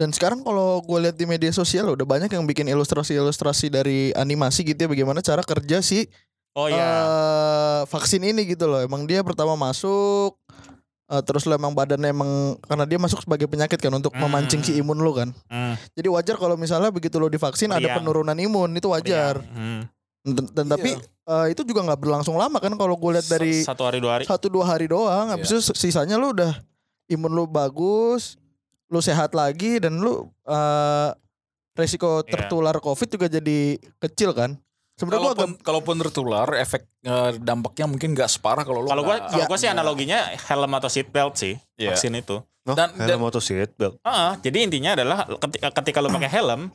Dan sekarang kalau gue lihat di media sosial udah banyak yang bikin ilustrasi-ilustrasi dari animasi gitu ya bagaimana cara kerja si
Oh
eh
ya,
vaksin ini gitu loh. Emang dia pertama masuk eh, terus lo emang badannya emang karena dia masuk sebagai penyakit kan untuk
Hmm. Oh,
memancing si imun lo kan.
Eh,
Hmm.
Jadi wajar kalau misalnya begitu lo divaksin ada
Meriang.
penurunan imun itu wajar.
Hmm.
Dan, dan
Iya.
tapi eh, itu juga nggak berlangsung lama kan kalau gue lihat dari
satu hari dua hari.
satu dua hari doang habis itu sisanya lu udah imun lu bagus lu sehat lagi dan lu eh, resiko
Iya.
tertular covid juga jadi kecil kan sebenarnya gua agak
Kalaupun, kalaupun tertular, efek eh, dampaknya mungkin nggak separah kalau lo
Kalau gue
nggak-
kalau
Iya.
gua sih analoginya helm atau seat belt sih
Iya.
vaksin itu.
Noh,
Dan- dan-
helm auto seatbelt.
Heeh, jadi intinya adalah ketika, ketika lu pakai helm,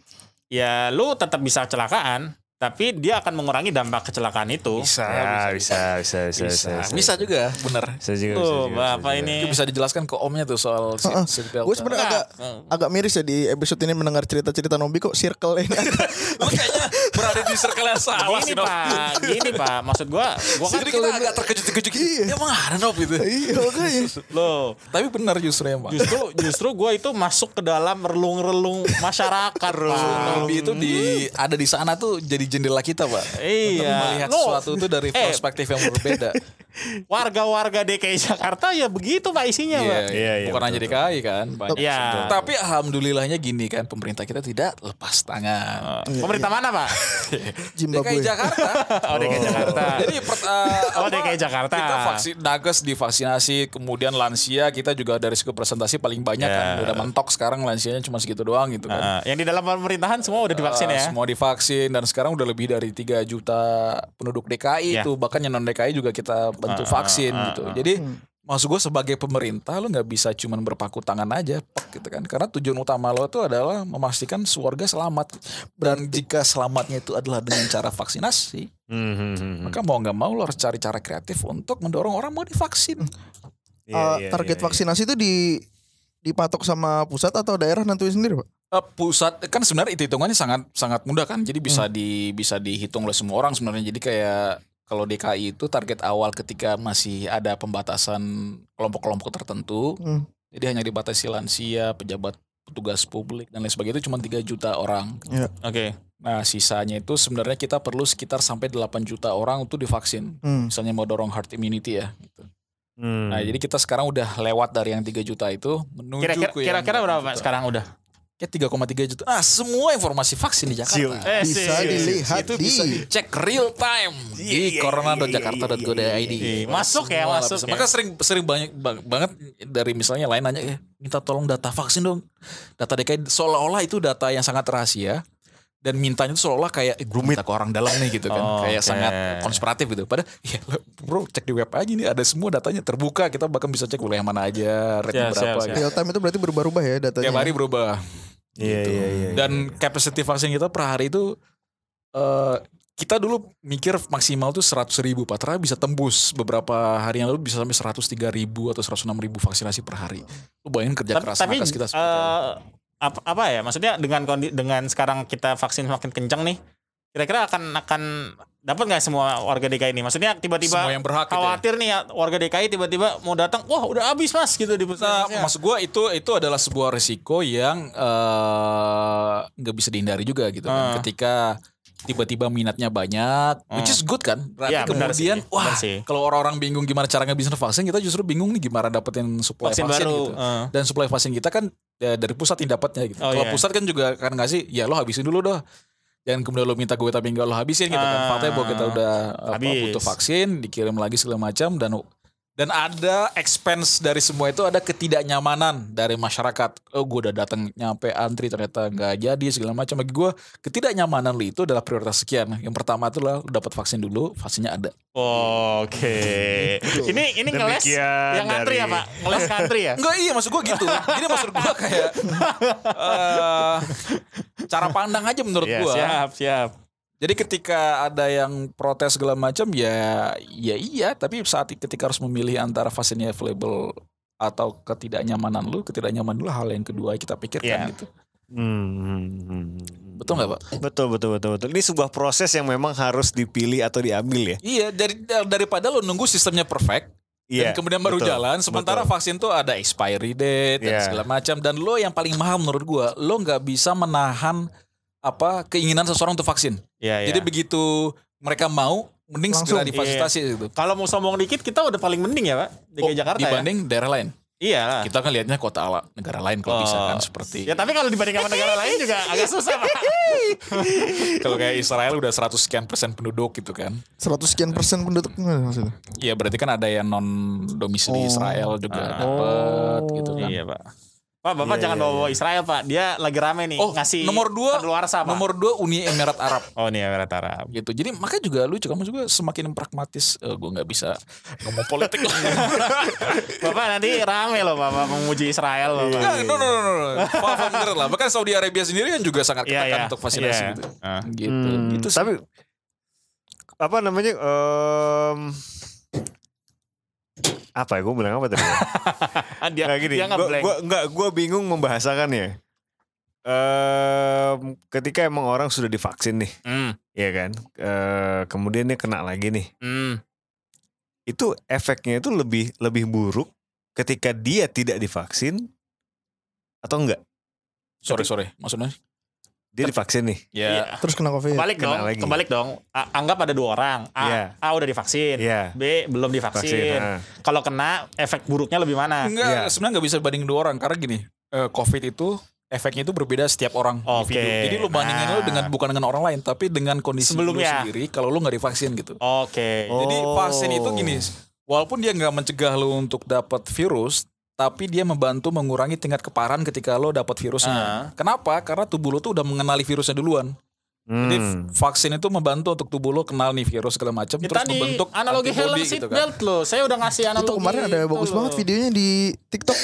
ya lu tetap bisa kecelakaan, tapi dia akan mengurangi dampak kecelakaan itu.
bisa,
Ya, bisa, bisa, bisa,
bisa,
bisa,
bisa juga, bener.
Bisa juga, bisa
Tuh,
juga, bisa
Bapak
juga.
Oh, ini.
Itu bisa dijelaskan ke omnya tuh soal seat,
Heeh.
seatbelt.
gue sebenarnya agak
Hmm.
agak miris ya di episode ini mendengar cerita cerita Nobi kok circle ini
Lu kayaknya berada di circle yang salah
Gini
sih, Nob.
Pak, gini Pak. Maksud gua, gua kan
Jadi kita agak terkejut-kejut gitu.
Iya.
Ya mana Nob itu?
iya makanya
lo
Tapi benar justru emang.
justru justru gua itu masuk ke dalam relung-relung masyarakat. Pak.
Nobi itu di ada di sana tuh jadi jendela kita, Pak. Untuk
Hmm. Iya.
melihat
Lo
sesuatu itu dari
Eh.
perspektif yang berbeda.
warga-warga DKI Jakarta ya begitu Pak isinya,
Iya,
Pak.
Iya, iya,
Bukan hanya DKI kan, banyak.
Iya.
Tapi alhamdulillahnya gini kan, pemerintah kita tidak lepas tangan.
Pemerintah mana, Pak?
DKI
Zimbabwe
Jakarta.
Oh, DKI Jakarta.
Jadi per, eh,
Oh,
apa,
DKI Jakarta.
Kita vaksin nakes divaksinasi, kemudian lansia kita juga dari segi presentasi paling banyak
Iya.
kan. Udah mentok sekarang lansianya cuma segitu doang gitu kan.
Nah, yang di dalam pemerintahan semua udah divaksin
Eh,
ya.
Semua divaksin dan sekarang udah lebih dari 3 juta penduduk DKI
Ya.
itu bahkan yang non DKI juga kita bantu vaksin gitu. Jadi maksud gue sebagai pemerintah lo nggak bisa cuman berpaku tangan aja pek, gitu kan. Karena tujuan utama lo itu adalah memastikan warga selamat. Dan jika selamatnya itu adalah dengan cara vaksinasi,
Hmm, hmm, hmm, hmm.
maka mau nggak mau lo harus cari cara kreatif untuk mendorong orang mau divaksin.
Iya,
Eh,
iya,
target
iya, iya.
vaksinasi itu di dipatok sama pusat atau daerah nanti sendiri pak
Eh, pusat kan sebenarnya itu hitungannya sangat sangat mudah kan jadi bisa di bisa dihitung oleh semua orang sebenarnya jadi kayak kalau DKI itu target awal ketika masih ada pembatasan kelompok-kelompok tertentu
Hmm.
jadi hanya dibatasi lansia pejabat petugas publik dan lain sebagainya itu cuma 3 juta orang
Oke.
nah sisanya itu sebenarnya kita perlu sekitar sampai 8 juta orang untuk divaksin
Hmm.
misalnya mau dorong herd immunity ya gitu.
Hmm.
nah jadi kita sekarang udah lewat dari yang 3 juta itu menuju
Kira-kira
ke yang
kira-kira
8
berapa
juta. Ya,
Pak sekarang udah?
Kayak 3,3 juta. Nah, semua informasi vaksin di
Siu.
Jakarta
Eh,
bisa
sih.
dilihat
itu
di
bisa dicek real time di
Iya, iya,
corona.jakarta.go.id.
Iya, masuk ya,
Semua
masuk
lapisan.
ya.
Maka sering sering banyak bang- banget dari misalnya lain nanya "Eh, minta tolong data vaksin dong. Data DKI seolah-olah itu data yang sangat rahasia dan mintanya itu seolah-olah kayak eh, belum minta ke orang dalam nih gitu kan.
Oh,
kayak
oke.
sangat konspiratif gitu. Padahal ya lo, bro cek di web aja nih ada semua datanya terbuka. Kita bahkan bisa cek wilayah mana aja, rate
Siap,
berapa
siap, siap.
gitu.
real time itu berarti berubah-ubah ya datanya
Tiap hari berubah
Iya,
gitu.
iya, iya,
Dan
iya.
capacity vaksin kita per hari itu eh kita dulu mikir maksimal tuh 100 ribu, Pak. Ternyata bisa tembus beberapa hari yang lalu bisa sampai 103 ribu atau 106 ribu vaksinasi per hari. Lu bayangin kerja
Tapi,
keras
tapi
nakes kita. seperti apa.
eh, apa, apa ya? Maksudnya dengan kondi, dengan sekarang kita vaksin makin kencang nih, kira-kira akan akan dapat nggak semua warga DKI ini? Maksudnya
Semua
tiba-tiba
yang berhak gitu ya.
khawatir nih ya, warga DKI tiba-tiba mau datang, wah udah habis mas gitu di
Nah,
puskesmasnya.
maksud gue itu itu adalah sebuah resiko yang eh, nggak bisa dihindari juga gitu
Ah.
kan. Ketika tiba-tiba minatnya banyak, which is good kan. Berarti
Ya, benar
kemudian
sih,
wah
benar sih.
kalau orang-orang bingung gimana cara ngebisin vaksin, kita justru bingung nih gimana dapetin supply
vaksin
vaksin,
baru.
gitu.
eh.
Dan supply vaksin kita kan ya, dari pusat yang dapatnya gitu.
Oh,
kalau
iya.
pusat kan juga kan ngasih, ya lo habisin dulu dah. Jangan kemudian lo minta gue tapi enggak lo habisin gitu kan.
Ah.
Faktanya bahwa kita udah apa,
Habis.
butuh vaksin, dikirim lagi segala macam dan dan ada expense dari semua itu ada ketidaknyamanan dari masyarakat. Oh, gue udah datang nyampe antri ternyata nggak jadi segala macam. Bagi gue ketidaknyamanan lo itu adalah prioritas sekian. Yang pertama itulah lo dapat vaksin dulu, vaksinnya ada.
Oke. Ini ini ngeles
Demikian
yang ngantri ya
dari-
pak? Ngeles ngantri ya?
Enggak iya maksud gue gitu. Jadi maksud gue kayak eh, cara pandang aja menurut
Iya,
gue.
ya.
siap siap.
Jadi ketika ada yang protes segala macam ya ya iya tapi saat ketika harus memilih antara vaksinnya available atau ketidaknyamanan lu, ketidaknyamanan lu hal yang kedua kita pikirkan
Iya.
gitu.
Hmm.
Betul nggak, Pak?
Betul betul betul betul. Ini sebuah proses yang memang harus dipilih atau diambil ya.
Iya, dari daripada lu nunggu sistemnya perfect dan kemudian baru
Iya, betul,
jalan sementara
betul.
vaksin tuh ada expiry date dan
Iya.
segala macam dan lo yang paling mahal menurut gua, lo nggak bisa menahan apa keinginan seseorang untuk vaksin.
Iya iya.
Jadi begitu mereka mau mending segera
Langsung.
difasilitasi gitu.
Kalau mau sombong dikit kita udah paling mending ya pak DKI Jakarta
dibanding daerah lain.
ya. Iya lah.
Kita kan lihatnya kota ala negara lain kalau bisa kan
Oh.
seperti
Ya tapi kalau dibanding sama negara lain juga agak susah pak.
kalau kayak Israel udah 100 sekian persen penduduk gitu kan.
100 sekian persen penduduk gimana maksudnya?
Iya berarti kan ada yang non domisili
Oh.
Israel juga dapat gitu kan.
Iya pak. Pak bapak jangan bawa bawa Israel pak. Dia lagi rame nih.
Oh,
ngasih
nomor dua-
kedaluarsa, Pak.
Nomor dua Uni Emirat Arab
Oh nih Emirat Arab.
gitu. Jadi makanya juga lucu kamu juga semakin pragmatis. Eh, gue nggak bisa ngomong politik.
Bapak nanti rame loh bapak memuji Israel bapak.
Enggak, Iya, no, no, no, no, no. Paham bener lah. Bahkan Saudi Arabia sendiri kan juga sangat
Iya,
ketat
iya.
untuk vaksinasi
Iya.
gitu.
Ah.
Gitu.
Hmm,
Itu sih.
tapi apa namanya? em, apa ya? Gue bilang apa tadi?
Ah,
Ya,
dia,
Nggak gini.
dia
gua,
ngeblank.
gua, nggak, gua bingung membahasakannya. Em, ketika emang orang sudah divaksin nih,
Hmm,
ya kan? Eh, kemudian dia kena lagi nih.
hmm.
Itu efeknya itu lebih lebih buruk ketika dia tidak divaksin atau enggak?
Sorry, sorry. Maksudnya?
Dia divaksin nih.
Ya.
Iya.
Terus kena covid.
Kebalik
Kena
dong,
lagi.
kebalik dong. A- anggap ada dua orang. A,
Iya.
A udah divaksin,
Iya.
B belum divaksin.
ah.
Kalau kena, efek buruknya lebih mana?
Enggak,
Iya.
sebenarnya nggak bisa banding dua orang karena gini, eh, COVID itu efeknya itu berbeda setiap orang.
Oke.
individu. Jadi lu bandingin
Nah.
lu dengan bukan dengan orang lain, tapi dengan kondisi lu
Sebelumnya.
sendiri kalau lu nggak divaksin gitu.
Oke.
Oh.
Jadi vaksin itu gini, walaupun dia nggak mencegah lu untuk dapat virus, tapi dia membantu mengurangi tingkat keparahan ketika lo dapat
Ah.
virusnya. Kenapa? Karena tubuh lo tuh udah mengenali virusnya duluan. Jadi
Hmm.
vaksin itu membantu untuk tubuh lo kenal nih virus segala macam,
Ya,
terus
tadi
membentuk
analogi
antibody
Helen
gitu
seat
kan.
belt loh. Saya udah ngasih analogi.
itu kemarin ada
itu
bagus
loh.
banget videonya di TikTok.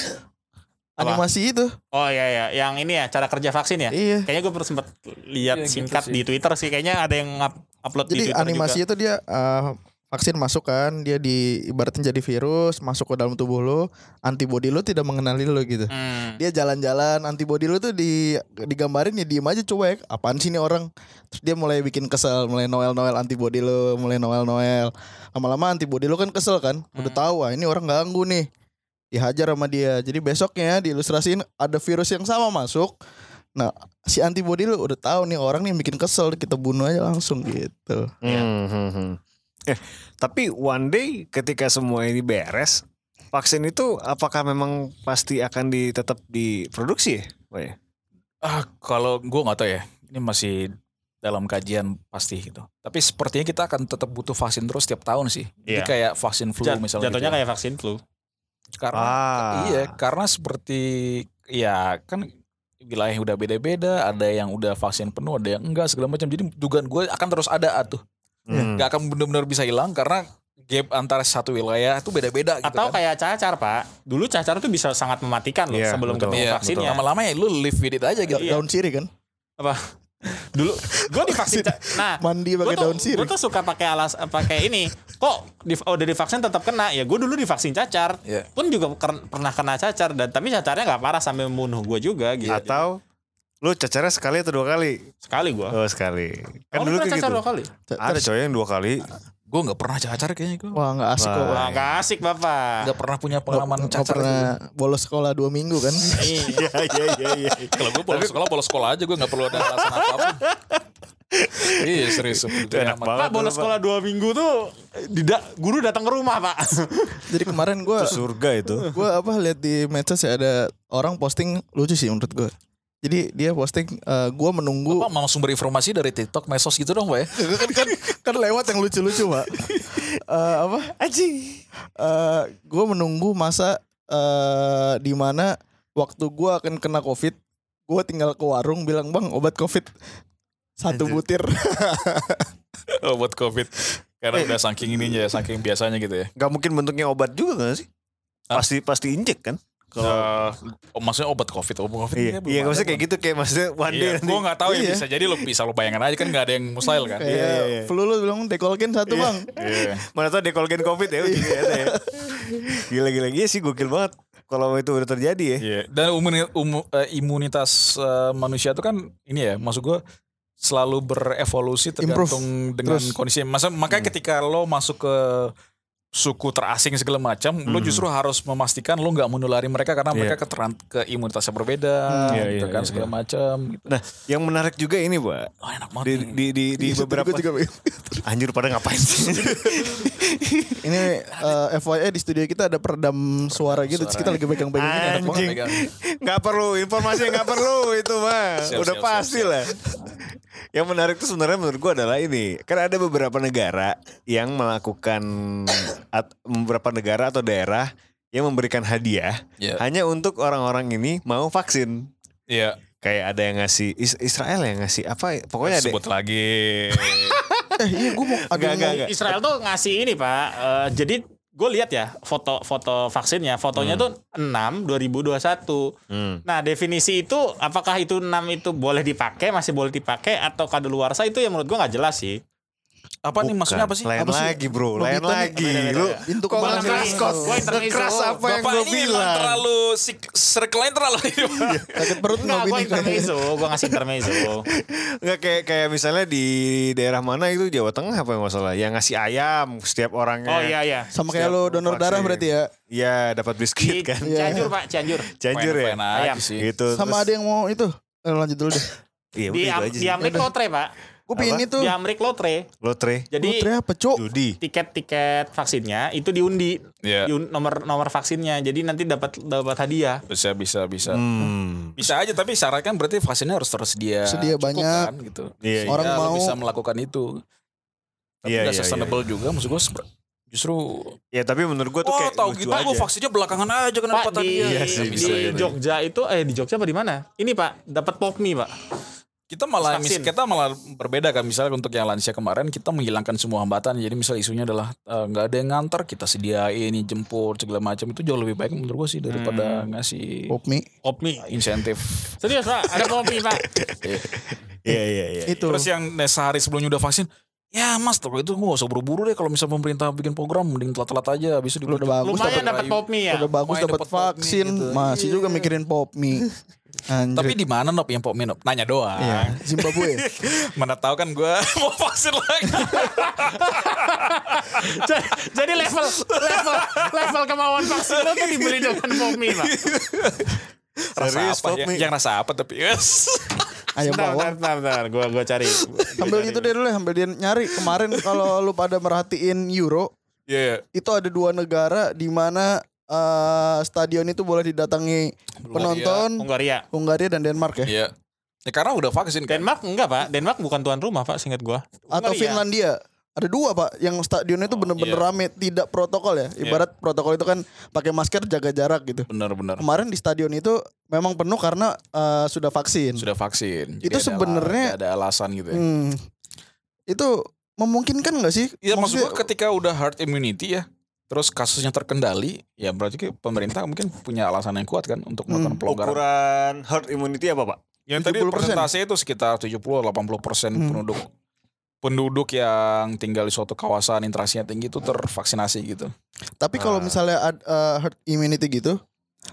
Apa?
Animasi itu.
Oh iya iya, yang ini ya cara kerja vaksin ya.
Iya.
Kayaknya gue pernah sempat lihat
Iya, gitu
singkat
sih.
di Twitter sih. Kayaknya ada yang up- upload di
Jadi
Twitter
animasi
juga.
itu dia eh, vaksin masuk kan, dia di ibaratnya jadi virus masuk ke dalam tubuh lo, antibodi lo tidak mengenali lo gitu.
Hmm.
Dia jalan-jalan, antibodi lo tuh di digambarin ya diem aja cuek. Apaan sih nih orang? Terus dia mulai bikin kesel, mulai noel-noel antibodi lo, mulai noel-noel. Lama-lama antibodi lo kan kesel kan,
Hmm.
udah tahu ah ini orang ganggu nih. Dihajar sama dia. Jadi besoknya diilustrasiin ada virus yang sama masuk. Nah, si antibodi lo udah tahu nih orang nih yang bikin kesel, kita bunuh aja langsung gitu.
Hmm, hmm, hmm. Eh, tapi one day ketika semua ini beres, vaksin itu apakah memang pasti akan di, tetap diproduksi? ya? Oh, ya.
Ah, kalau gue nggak tahu ya. Ini masih dalam kajian pasti gitu. Tapi sepertinya kita akan tetap butuh vaksin terus setiap tahun sih. Jadi
Iya.
kayak vaksin flu
Jat-
misalnya. gitu
jatuhnya
ya.
kayak vaksin flu.
karena
Ah.
iya, karena seperti ya kan wilayah udah beda-beda, ada yang udah vaksin penuh, ada yang enggak segala macam. Jadi dugaan gue akan terus ada ah, tuh.
Hmm.
Nggak akan benar-benar bisa hilang karena gap antara satu wilayah itu beda-beda gitu
Atau
kan.
kayak cacar pak. Dulu cacar tuh bisa sangat mematikan loh
Iya,
sebelum
betul.
ketemu
Iya,
vaksinnya.
lama-lama ya lu live with it aja gitu.
Iya.
Daun sirih kan?
Dulu gue divaksin. ca- nah
Mandi
gue
pakai
tuh,
daun sirih.
gua tuh suka pakai alas eh, pakai ini. Kok di, oh, udah divaksin tetap kena? Ya gue dulu divaksin cacar.
Iya.
Pun juga ker- pernah kena cacar dan tapi cacarnya nggak parah sampai membunuh gue juga gitu.
Atau lu cacarnya sekali atau dua kali?
Sekali gue.
Oh sekali. Kan
Oh, lu
dulu
pernah
kayak
cacar
gitu.
dua kali?
Iya.
Ada coy yang dua kali.
Gue nggak pernah cacar kayaknya gue.
Wah nggak asik kok.
Wah, Ah, nggak asik bapak.
Nggak pernah punya
Nggak-
pengalaman
nggak
cacar. gitu.
pernah
dulu.
bolos sekolah dua minggu kan?
Iya.
Iya iya iya. iya.
Kalau gue bolos sekolah, bolos sekolah aja gue nggak perlu ada alasan apapun. iya serius.
Itu enak banget.
Pak bolos sekolah dua minggu tuh tidak guru datang ke rumah pak.
Jadi kemarin gue
Itu surga itu.
gue apa lihat di medsos ya ada orang posting lucu sih menurut gue Jadi dia posting eh, gua menunggu
Bapak mau langsung berinformasi dari TikTok, Mesos gitu dong, Pak ya?
kan kan kan lewat yang lucu-lucu pak Eh, apa
Aji.
Eh, gue menunggu masa eh di mana waktu gue akan kena covid gue tinggal ke warung bilang bang obat covid satu
Anjir.
butir
Obat Oh, COVID. Karena udah saking ininya, saking biasanya gitu ya.
Gak mungkin bentuknya obat juga gak sih?
Hah?
Pasti pasti injek kan?
Kalau Eh, oh, maksudnya obat COVID, obat COVID.
Iya, iya maksudnya kayak gitu kayak maksudnya
kan?
one day
Iya,
nanti.
gue nggak tahu ya
Iya.
bisa jadi lo bisa lo bayangkan aja kan nggak ada yang mustahil kan.
kayak
iya, iya.
flu lu bilang dekolgen satu bang
Iya.
Mana tau dekolgen covid ya ujungnya ada ya. Gila gila gila sih gokil banget kalau itu udah terjadi ya.
Iya. Dan umuni- umu- eh, imunitas eh, manusia itu kan ini ya, maksud gue selalu berevolusi tergantung dengan
Terus.
kondisinya. Masa
Hmm.
makanya ketika lo masuk ke suku terasing segala macam, lo
Hmm.
justru harus memastikan lo nggak menulari mereka karena
Iya.
mereka keteran ke imunitasnya berbeda,
Iya,
gitu
iya,
kan
iya,
segala macam. Gitu.
Nah, Yang menarik juga ini pak
Oh, enak banget.
di
nih.
di di, di
Iya,
beberapa
Gua juga, Bang.
anjir pada ngapain sih?
ini eh, FYI di studio kita ada peredam suara gitu terus
suara.
kita lagi pegang-pegang ini enak banget
Anjing.
pegang.
Nggak perlu informasinya nggak perlu itu mah
Siap,
udah
siap, siap,
pasti
siap.
lah. Yang menarik tuh sebenarnya menurut gua adalah ini kan ada beberapa negara yang melakukan at- beberapa negara atau daerah yang memberikan hadiah
Iya.
hanya untuk orang-orang ini mau vaksin.
Iya.
kayak ada yang ngasih Is- Israel yang ngasih apa pokoknya ada
Sebut lagi.
eh iya gue mau ada
Enggak,
yang
enggak,
mau-
enggak.
Israel tuh ngasih ini pak. Eh, jadi gue lihat ya foto-foto vaksinnya. Fotonya tuh 6 2021.
Hmm.
Nah definisi itu apakah itu 6 itu boleh dipakai masih boleh dipakai atau kadaluarsa itu yang menurut gue nggak jelas sih.
Apa nih maksudnya apa sih?
Lain
Apa sih?
lagi bro,
Lo
lain
kita nih-
lagi.
Beda-beda
Lu
ya.
Pintu
kok
kebalik.
ngekeras kok,
Gua intermezzo.
ngekeras apa yang
Bapak ini
gue
memang
bilang. Iya,
terlalu sik- circle-nya terlalu
sakit perut
Enggak,
nggak
gue
bini
intermezzo, gue ngasih intermezzo.
Nggak kayak kayak misalnya di daerah mana itu Jawa Tengah apa yang nggak salah, yang ngasih ayam setiap orangnya.
Oh iya iya.
sama kayak
Setiap
lo donor
vaksin.
darah berarti ya
Iya dapat
Di
biskuit kan.
Cianjur pak, Cianjur.
Cianjur ya.
Fine-fine aja
Ayam.
sih.
Gitu.
sama ada
terus-
yang mau itu Eh, lanjut dulu deh
Iya
Di,
udah
Am-
itu
di
aja sih.
Amrik Lotre pak.
gue pingin itu
Di Amrik Lotre.
Lotre,
Jadi
Lotre apa cuk
judi.
tiket-tiket vaksinnya itu diundi
Iya.
Diun- nomor nomor vaksinnya. Jadi nanti dapat dapat hadiah.
Bisa bisa bisa.
Hmm.
Bisa aja tapi syaratnya kan berarti vaksinnya harus tersedia.
Sedia
cukup
banyak.
kan, gitu.
Iya,
Orang
Orang
mau
mau-
bisa melakukan itu. Tapi
Iya,
nggak
iya,
sustainable juga maksud gue sep- justru
Ya tapi menurut gue tuh
Wah
kayak
tahu
lucu
gitu gue
aja.
vaksinnya belakangan aja kan
Pak
dapat
di,
hadiah.
Iya sih,
di
bisa gitu.
Jogja itu eh di Jogja apa di mana? Ini Pak, dapat popmi Pak.
Kita malah mis-
Vaksin.
kita malah berbeda kan misalnya untuk yang lansia kemarin kita menghilangkan semua hambatan. Jadi misal isunya adalah eh, nggak ada yang nganter, kita sediain jemput segala macam itu jauh lebih baik menurut gue sih daripada
Hmm. Oh.
ngasih
Pop mie
Popmi.
insentif.
Serius Pak, ada popmi Pak.
Iya iya iya.
itu
Terus yang sehari sebelumnya udah vaksin, ya mas kalau itu gue gak usah buru-buru deh kalau misal pemerintah bikin program mending telat-telat aja habis itu
Lu udah bagus
Lumayan
dapet
dapat
rayu.
popmi ya.
udah bagus
Lumayan
dapat
dapet pop mie
vaksin
gitu.
masih juga mikirin pop mie Anjir.
Tapi di mana nop yang pop minop? Nanya doang.
Iya, Zimbabwe
Mana tahu kan gue mau vaksin lagi.
Jadi- Jadi level level level kemauan vaksin lo tuh dibeli dengan popmi Pak.
rasa
Serius,
apa?
pop
Ya,
mie.
yang rasa apa tapi yes.
ayam bawang
bentar, bentar. Gua gua cari.
sambil itu deh dulu ya, sambil dia nyari kemarin kalau lu pada merhatiin Euro
Iya.
itu ada dua negara di mana eh, stadion itu boleh didatangi penonton
Hungaria.
Hungaria dan Denmark ya
Iya. Ya karena udah vaksin kan.
Denmark enggak Pak, Denmark bukan tuan rumah Pak, singkat gua. Hungaria.
atau Finlandia ada dua pak yang stadionnya itu bener-bener
iya.
rame tidak protokol ya ibarat protokol itu kan pakai masker jaga jarak gitu
Bener-bener.
kemarin di stadion itu memang penuh karena eh, sudah vaksin
Sudah vaksin. Jadi
Itu
ada-
sebenarnya-
ada, alasan gitu ya.
Hmm. Itu memungkinkan nggak sih?
Iya maksud
Maksudnya-
gue ketika udah herd immunity ya. Terus kasusnya terkendali, ya berarti kayak pemerintah mungkin punya alasan yang kuat kan untuk
Hmm.
melakukan pelonggaran.
Ukuran herd immunity apa pak?
Yang tadi
70%.
persentase itu sekitar 70-80 persen
Hmm.
penduduk penduduk yang tinggal di suatu kawasan interaksinya tinggi itu tervaksinasi gitu.
tapi kalau misalnya ad- eh, herd immunity gitu,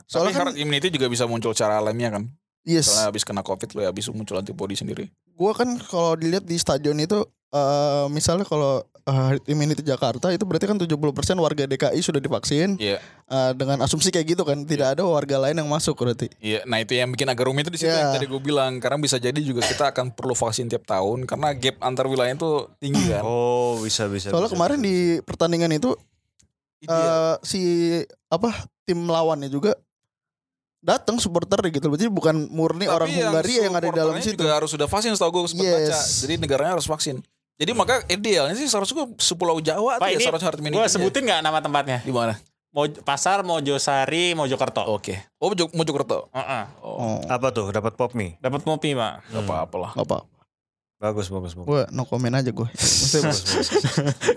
Soalnya
soalnya kan,
herd immunity juga bisa muncul secara alamiah kan.
yes,
Soalnya habis kena covid lo ya habis muncul antibody sendiri.
gua kan kalau dilihat di stadion itu eh, misalnya kalau eh, herd immunity Jakarta itu berarti kan 70% warga DKI sudah divaksin
Iya,
eh, dengan asumsi kayak gitu kan, tidak ada warga lain yang masuk berarti.
iya. Nah itu yang bikin agak rumit itu di situ
Iya.
yang tadi gue bilang. Karena bisa jadi juga kita akan perlu vaksin tiap tahun karena gap antar wilayah itu tinggi kan.
Eh,
Oh bisa bisa.
Soalnya
bisa,
kemarin
bisa.
di pertandingan itu
Iya.
eh, si apa tim lawannya juga datang supporter gitu. Berarti bukan murni orang Hungaria yang ada di dalam
supporternya
situ.
juga harus sudah vaksin setahu gue sempat baca.
Yes.
Jadi negaranya harus vaksin. Jadi maka idealnya sih seharusnya sepulau Jawa
Pak
tuh ya
ini
seharusnya harus
gue sebutin nggak nama tempatnya?
di mana?
Moj- Pasar Mojosari Mojokerto.
Oke. Oh Mojo- Mojokerto.
Heeh.
Oh,
Apa tuh? Dapat pop mie.
Dapat kopi pak.
Gak apa-apa lah.
nggak apa.
Bagus, bagus, bagus.
Gue no comment aja gue. Maksudnya,
bagus, bagus.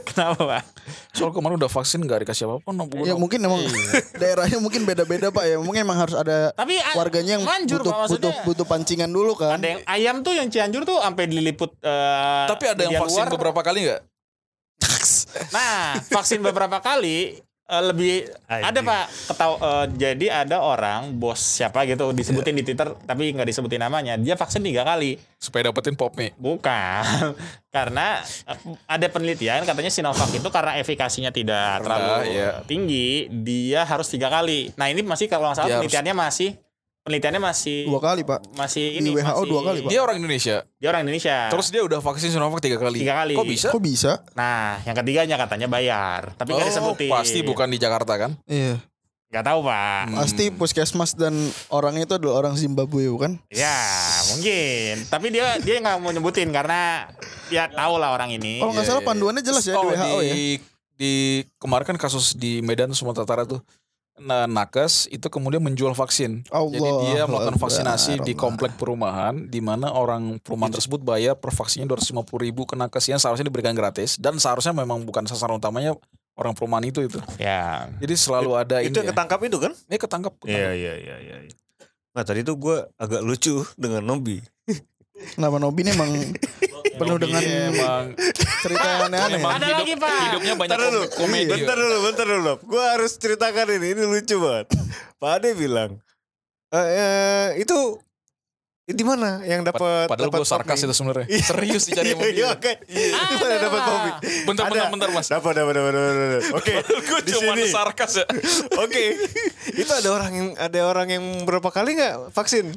Kenapa pak?
Soal kemarin udah vaksin gak dikasih apa-apa. no, gua
ya
no-
mungkin emang daerahnya mungkin beda-beda pak ya. Mungkin emang harus ada
Tapi a-
warganya yang
manjur, Eh,
butuh,
Pak, maksudnya.
butuh butuh pancingan dulu kan.
ada yang ayam tuh yang Cianjur tuh sampai diliput. eh,
Tapi ada yang
media
vaksin
luar.
beberapa kali gak?
Nah, vaksin beberapa kali eh, lebih
Anjing.
ada pak ketau eh, jadi ada orang bos siapa gitu disebutin di Twitter tapi nggak disebutin namanya dia vaksin tiga kali
Supaya dapetin pop mie.
bukan karena eh, ada penelitian katanya Sinovac itu karena efikasinya
Rendah,
tidak terlalu
iya.
tinggi dia harus tiga kali nah ini masih kalau nggak salah
Dia harus-
penelitiannya masih penelitiannya masih
Dua kali pak.
masih
Di
ini
WHO
masih-
dua kali, Pak.
Dia orang Indonesia.
dia orang Indonesia
Terus dia udah vaksin Sinovac tiga kali.
Ah. Tiga kali.
Kok bisa? Oh,
Kok bisa?
nah yang ketiganya katanya bayar tapi nggak disebutin
pasti bukan di Jakarta kan? Hmm.
Iya. Hmm.
nggak tahu pak
Pasti puskesmas dan orangnya itu adalah orang Zimbabwe bukan?
Ya mungkin, tapi dia dia nggak mau nyebutin karena ya tahu lah orang ini.
Kalau nggak
Iya, iya,
salah
iya.
panduannya jelas ya di
Oh,
WHO ya.
di- di- kemarin kan kasus di Medan Sumatera Utara tuh nah, nakes itu kemudian menjual vaksin. Jadi dia melakukan
Allahu
vaksinasi
Akbar.
di komplek perumahan di mana orang perumahan tersebut bayar per vaksinnya 250 ribu ke nakes yang seharusnya diberikan gratis dan seharusnya memang bukan sasaran utamanya orang perumahan itu itu.
Ya,
Jadi selalu ada
itu
ini.
yang ketangkap itu kan?
ya. Ini ketangkep.
Iya,
ketangkep.
iya, iya, iya. iya. Nah tadi tuh gue agak lucu dengan Nobi.
Kenapa Nobi ini emang penuh dengan
Iya, emang
cerita yang aneh-aneh. ya?
Emang
Ada lagi, Pak.
Hidupnya banyak
Iya,
Bentar dulu, Iya,
kom- komedi.
bentar dulu, bentar dulu. Gue harus ceritakan ini, ini lucu banget. Pak Ade bilang, "Eh, eh, itu eh, di mana yang dapat?
Padahal
dapat Iya,
gue sarkas
kopi?"
itu sebenarnya. Serius dicari sama
Iya,
dia.
oke. Di mana
Ada,
dapat
Pak.
kopi?
Bentar,
Ada.
bentar, bentar, Mas.
Dapat, dapat, dapat, dapat, dapat. Oke,
Gue
di
cuma
sini.
sarkas ya.
Oke, itu ada orang yang ada orang yang berapa kali nggak vaksin?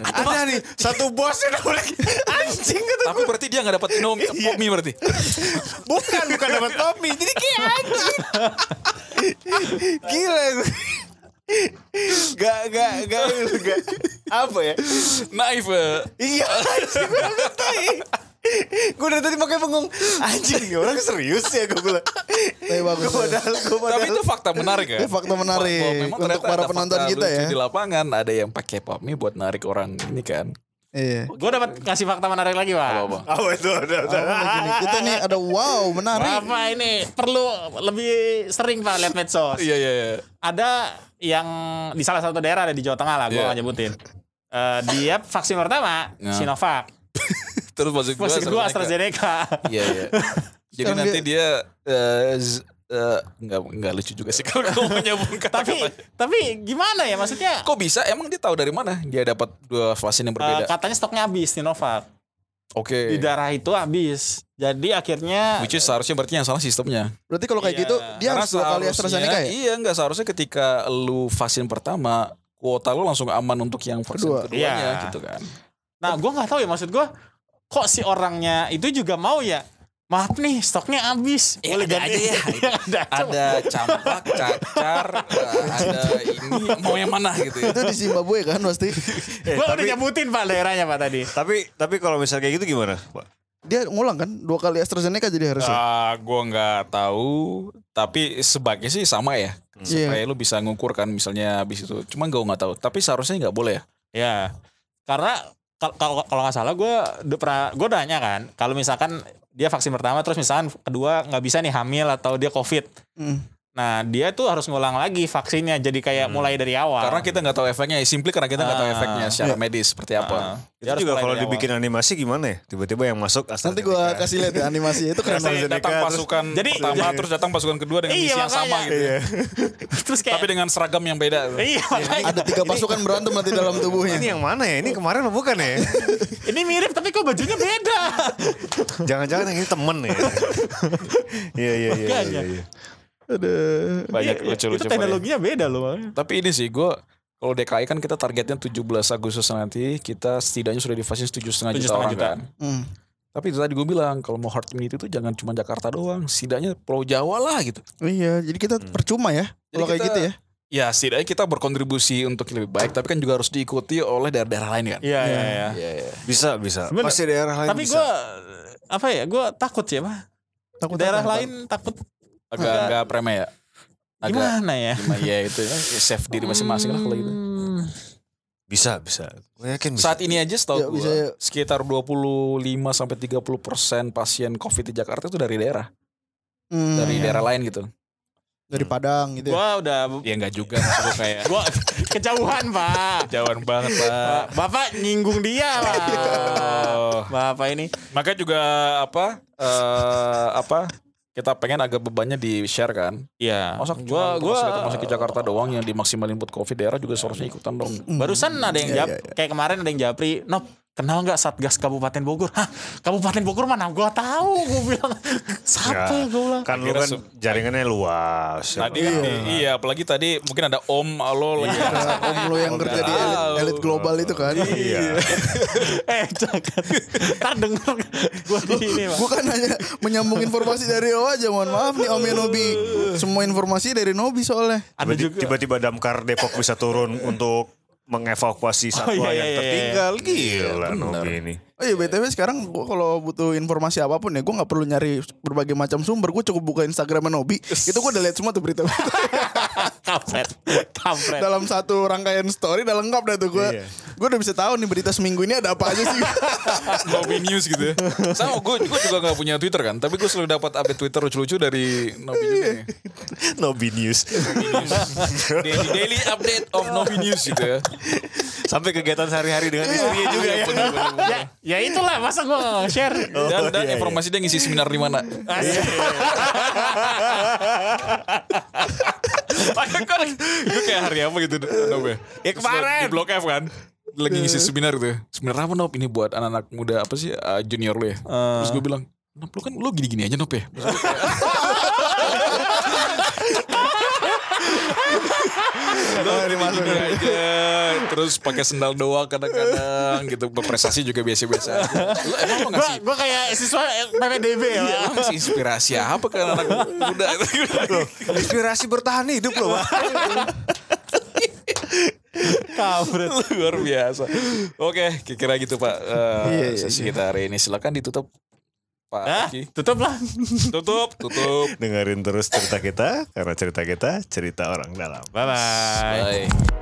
Ada nih satu bos yang udah- anjing kata
Tapi berarti dia gak dapat nomi,
Iya.
pomi berarti.
bukan bukan dapat kopi jadi kayak anjing gila gue. gak gak gak gak apa ya
Naif. eh.
iya anjing gue udah tai gue ya. dari tadi pakai bengong anjing ini orang serius ya gue bilang
Tapi bagus,
gue padahal gue
Tapi
padahal
itu fakta menarik ya.
Ini fakta menarik
Bahwa memang
untuk
ternyata
para
ada
penonton
fakta
kita
lucu
ya.
Di lapangan ada yang pakai pop mie buat narik orang ini kan.
Iya.
gue dapat kasih fakta menarik lagi pak.
Apa-apa.
apa itu ada ada
Apa lagi nih? Kita nih ada wow menarik.
Bapak ini perlu lebih sering pak lihat medsos.
Iya iya iya.
Ada yang di salah satu daerah ada di Jawa Tengah lah, gue
Iya.
nggak nyebutin. Eh, dia vaksin pertama
Ya.
Sinovac,
Terus maksud gue
vaksin kedua AstraZeneca.
Iya iya. Jadi
Sekarang
nanti dia eh, z- eh, nggak nggak lucu juga sih kalau kamu menyambungkan
tapi tapi gimana ya maksudnya?
kok bisa emang dia tahu dari mana dia dapat dua vaksin yang
eh,
berbeda
katanya stoknya habis Sinovac di
oke
darah itu habis. Jadi akhirnya
which is seharusnya berarti yang salah sistemnya
Berarti kalau kayak
Iya.
gitu dia
Karena
harus dua kali
seharusnya-
AstraZeneca ya?
Iya nggak seharusnya ketika lu vaksin pertama kuota lu langsung aman untuk yang vaksin
Kedua.
keduanya
Iya.
gitu kan.
Nah, gue nggak tahu ya maksud gue kok si orangnya itu juga mau ya. Maaf nih, stoknya habis.
Ya,
Boleh
ada
ganti
aja ya.
Ya, ada aja.
Ada campak, cacar, eh, ada ini mau yang mana gitu ya.
Itu di Zimbabwe kan pasti.
Eh,
Gue udah
tapi
nyebutin pak daerahnya pak tadi.
tapi tapi kalau misalnya kayak gitu gimana pak
Dia ngulang kan dua kali AstraZeneca jadi harusnya.
Ah, gua nggak tahu, tapi sebaiknya sih sama ya. Supaya
Iya.
lu bisa ngukur kan misalnya habis itu. Cuma gua nggak tahu, tapi seharusnya nggak boleh ya.
Ya, karena kal- kalau kalau nggak salah gue udah pernah gue nanya kan, kalau misalkan dia vaksin pertama terus misalkan kedua nggak bisa nih hamil atau dia covid.
Hmm.
Nah dia tuh harus ngulang lagi vaksinnya, jadi kayak mulai dari awal.
Hmm. Karena kita nggak tahu efeknya, simply karena kita nggak tahu
Ah.
efeknya secara medis seperti
Heeh.
apa.
Dia
itu
harus
juga
mulai
kalau
dari awal.
dibikin animasi gimana ya tiba-tiba yang masuk
Nanti gue kasih lihat ya animasi itu keren banget.
Jadi datang
AstraZeneca,
pasukan
Jadi-
pertama terus datang pasukan kedua dengan
Iya,
misi yang sama
makanya.
gitu. ya.
terus kayak
Tapi dengan seragam yang beda.
Iya, makanya.
Ada tiga pasukan berantem nanti dalam
ini
tubuhnya.
yang mana ya ini kemarin apa bukan ya
ini mirip tapi kok bajunya beda.
jangan-jangan yang ini temen ya iya iya iya, iya iya
Aduh.
Banyak
Iya,
lucu-lucu.
Itu
pada.
teknologinya beda loh. makanya.
Tapi ini sih gue kalau DKI kan kita targetnya 17 Agustus nanti kita setidaknya sudah divaksin 7,5 juta
7,5
orang
juta.
kan.
Hmm.
Tapi itu tadi gue bilang kalau mau herd immunity itu jangan cuma Jakarta doang, setidaknya Pulau Jawa lah gitu.
Oh Iya, jadi kita percuma ya
Jadi
kalau kayak
kita-
gitu ya.
ya setidaknya kita berkontribusi untuk lebih baik tapi kan juga harus diikuti oleh daerah-daerah lain kan.
Iya, iya, iya.
Iya, iya.
Bisa, bisa.
Sebenernya-
Pasti daerah lain
Tapi
bisa.
gue apa ya? Gue takut ya, Pak.
Takut
Daerah
apa?
lain takut
Agak agak preme ya. Agak
gimana ya?
gimana ya itu ya, ya save diri masing-masing lah kalau gitu.
Hmm.
Bisa, bisa. Gue yakin bisa.
Saat ini aja setahu
Ya,
gua,
bisa ya.
sekitar 25 sampai 30% pasien COVID di Jakarta itu dari daerah,
Hmm,
dari
iya.
daerah lain gitu.
dari Padang gitu. ya.
Gue udah
Ya enggak juga maksud gua kayak
gue kejauhan Pak.
jauhan banget lah.
Pak, Bapak nyinggung dia Pak.
Oh.
Bapak ini.
Maka juga apa eh, apa kita pengen agak bebannya di share kan.
Iya.
Masa
gue
gua
gue
masuk ke Jakarta doang yang dimaksimal input Covid daerah juga seharusnya ikutan dong.
Barusan ada yang
Iya,
jawab
iya,
kayak kemarin ada yang japri, "Nop, kenal nggak Satgas Kabupaten Bogor?" Hah, Kabupaten Bogor mana gua tahu, gua bilang.
Ya.
Siapa gua bilang?
Kan lu
Akhirnya
kan jaringannya luas.
kan
Tadi iya apalagi tadi mungkin ada Om Alol lagi.
Om lu yang
Om
kerja di
Dalal.
elit, elit global itu kan.
Iya.
Eh, jangan. Ntar denger gua di ini, Pak.
Gue kan hanya menyambung informasi dari lo aja Mohon maaf nih Om Nobi Semua informasi dari Nobi soalnya
Ada
Tiba-
juga
Tiba-tiba damkar Depok bisa turun untuk mengevakuasi satwa
iya, iya,
yang
iya,
tertinggal. Gila, Nobi ini.
Oh iya BTW sekarang gue kalau butuh informasi apapun ya Gue gak perlu nyari berbagai macam sumber Gue cukup buka Instagram Nobi Itu gue udah lihat semua tuh berita
kampret. Kampret.
Dalam satu rangkaian story udah lengkap dah tuh gue
Iya.
Gue udah bisa tahu nih berita seminggu ini ada apa aja sih
Nobi News gitu ya. Sama gue gue juga gak punya Twitter kan, tapi gue selalu dapat update Twitter lucu-lucu dari Nobi juga nih.
Iya. Nobi News.
Daily, daily update of Nobi News gitu ya.
Iya.
Iya.
Sampai kegiatan sehari-hari dengan istrinya juga ya.
Ya, ya itulah masa gua nggak share.
Dan,
Oh,
dan
iya, iya.
informasi dia ngisi seminar di mana. Makanya kan gue kayak hari apa gitu Nob ya.
Ya, kemarin.
Di Blok F kan. Lagi ngisi seminar gitu. Seminar apa Nob ini buat anak-anak muda apa sih uh, junior lu ya. Terus gue bilang, Nob lu kan lu gini-gini aja Nob ya. Terus gua kayak- Lu gini-gini aja. Terus pakai sendal doang kadang-kadang gitu. Berprestasi juga biasa-biasa. aja. Lu emang mau
Gua
ngasih
gua kayak siswa PPDB ya. Pak.
Emang sih inspirasi apa ke anak muda?
Inspirasi bertahan hidup loh. Pak.
Kampret.
Luar biasa. Oke, kira-kira gitu Pak. Eh,
Iya, iya,
sesi kita hari ini silakan ditutup Pak
Hah?
Oki.
Tutup lah.
Tutup, tutup.
Dengerin terus cerita kita karena cerita kita cerita orang dalam.
Bye bye.
Bye.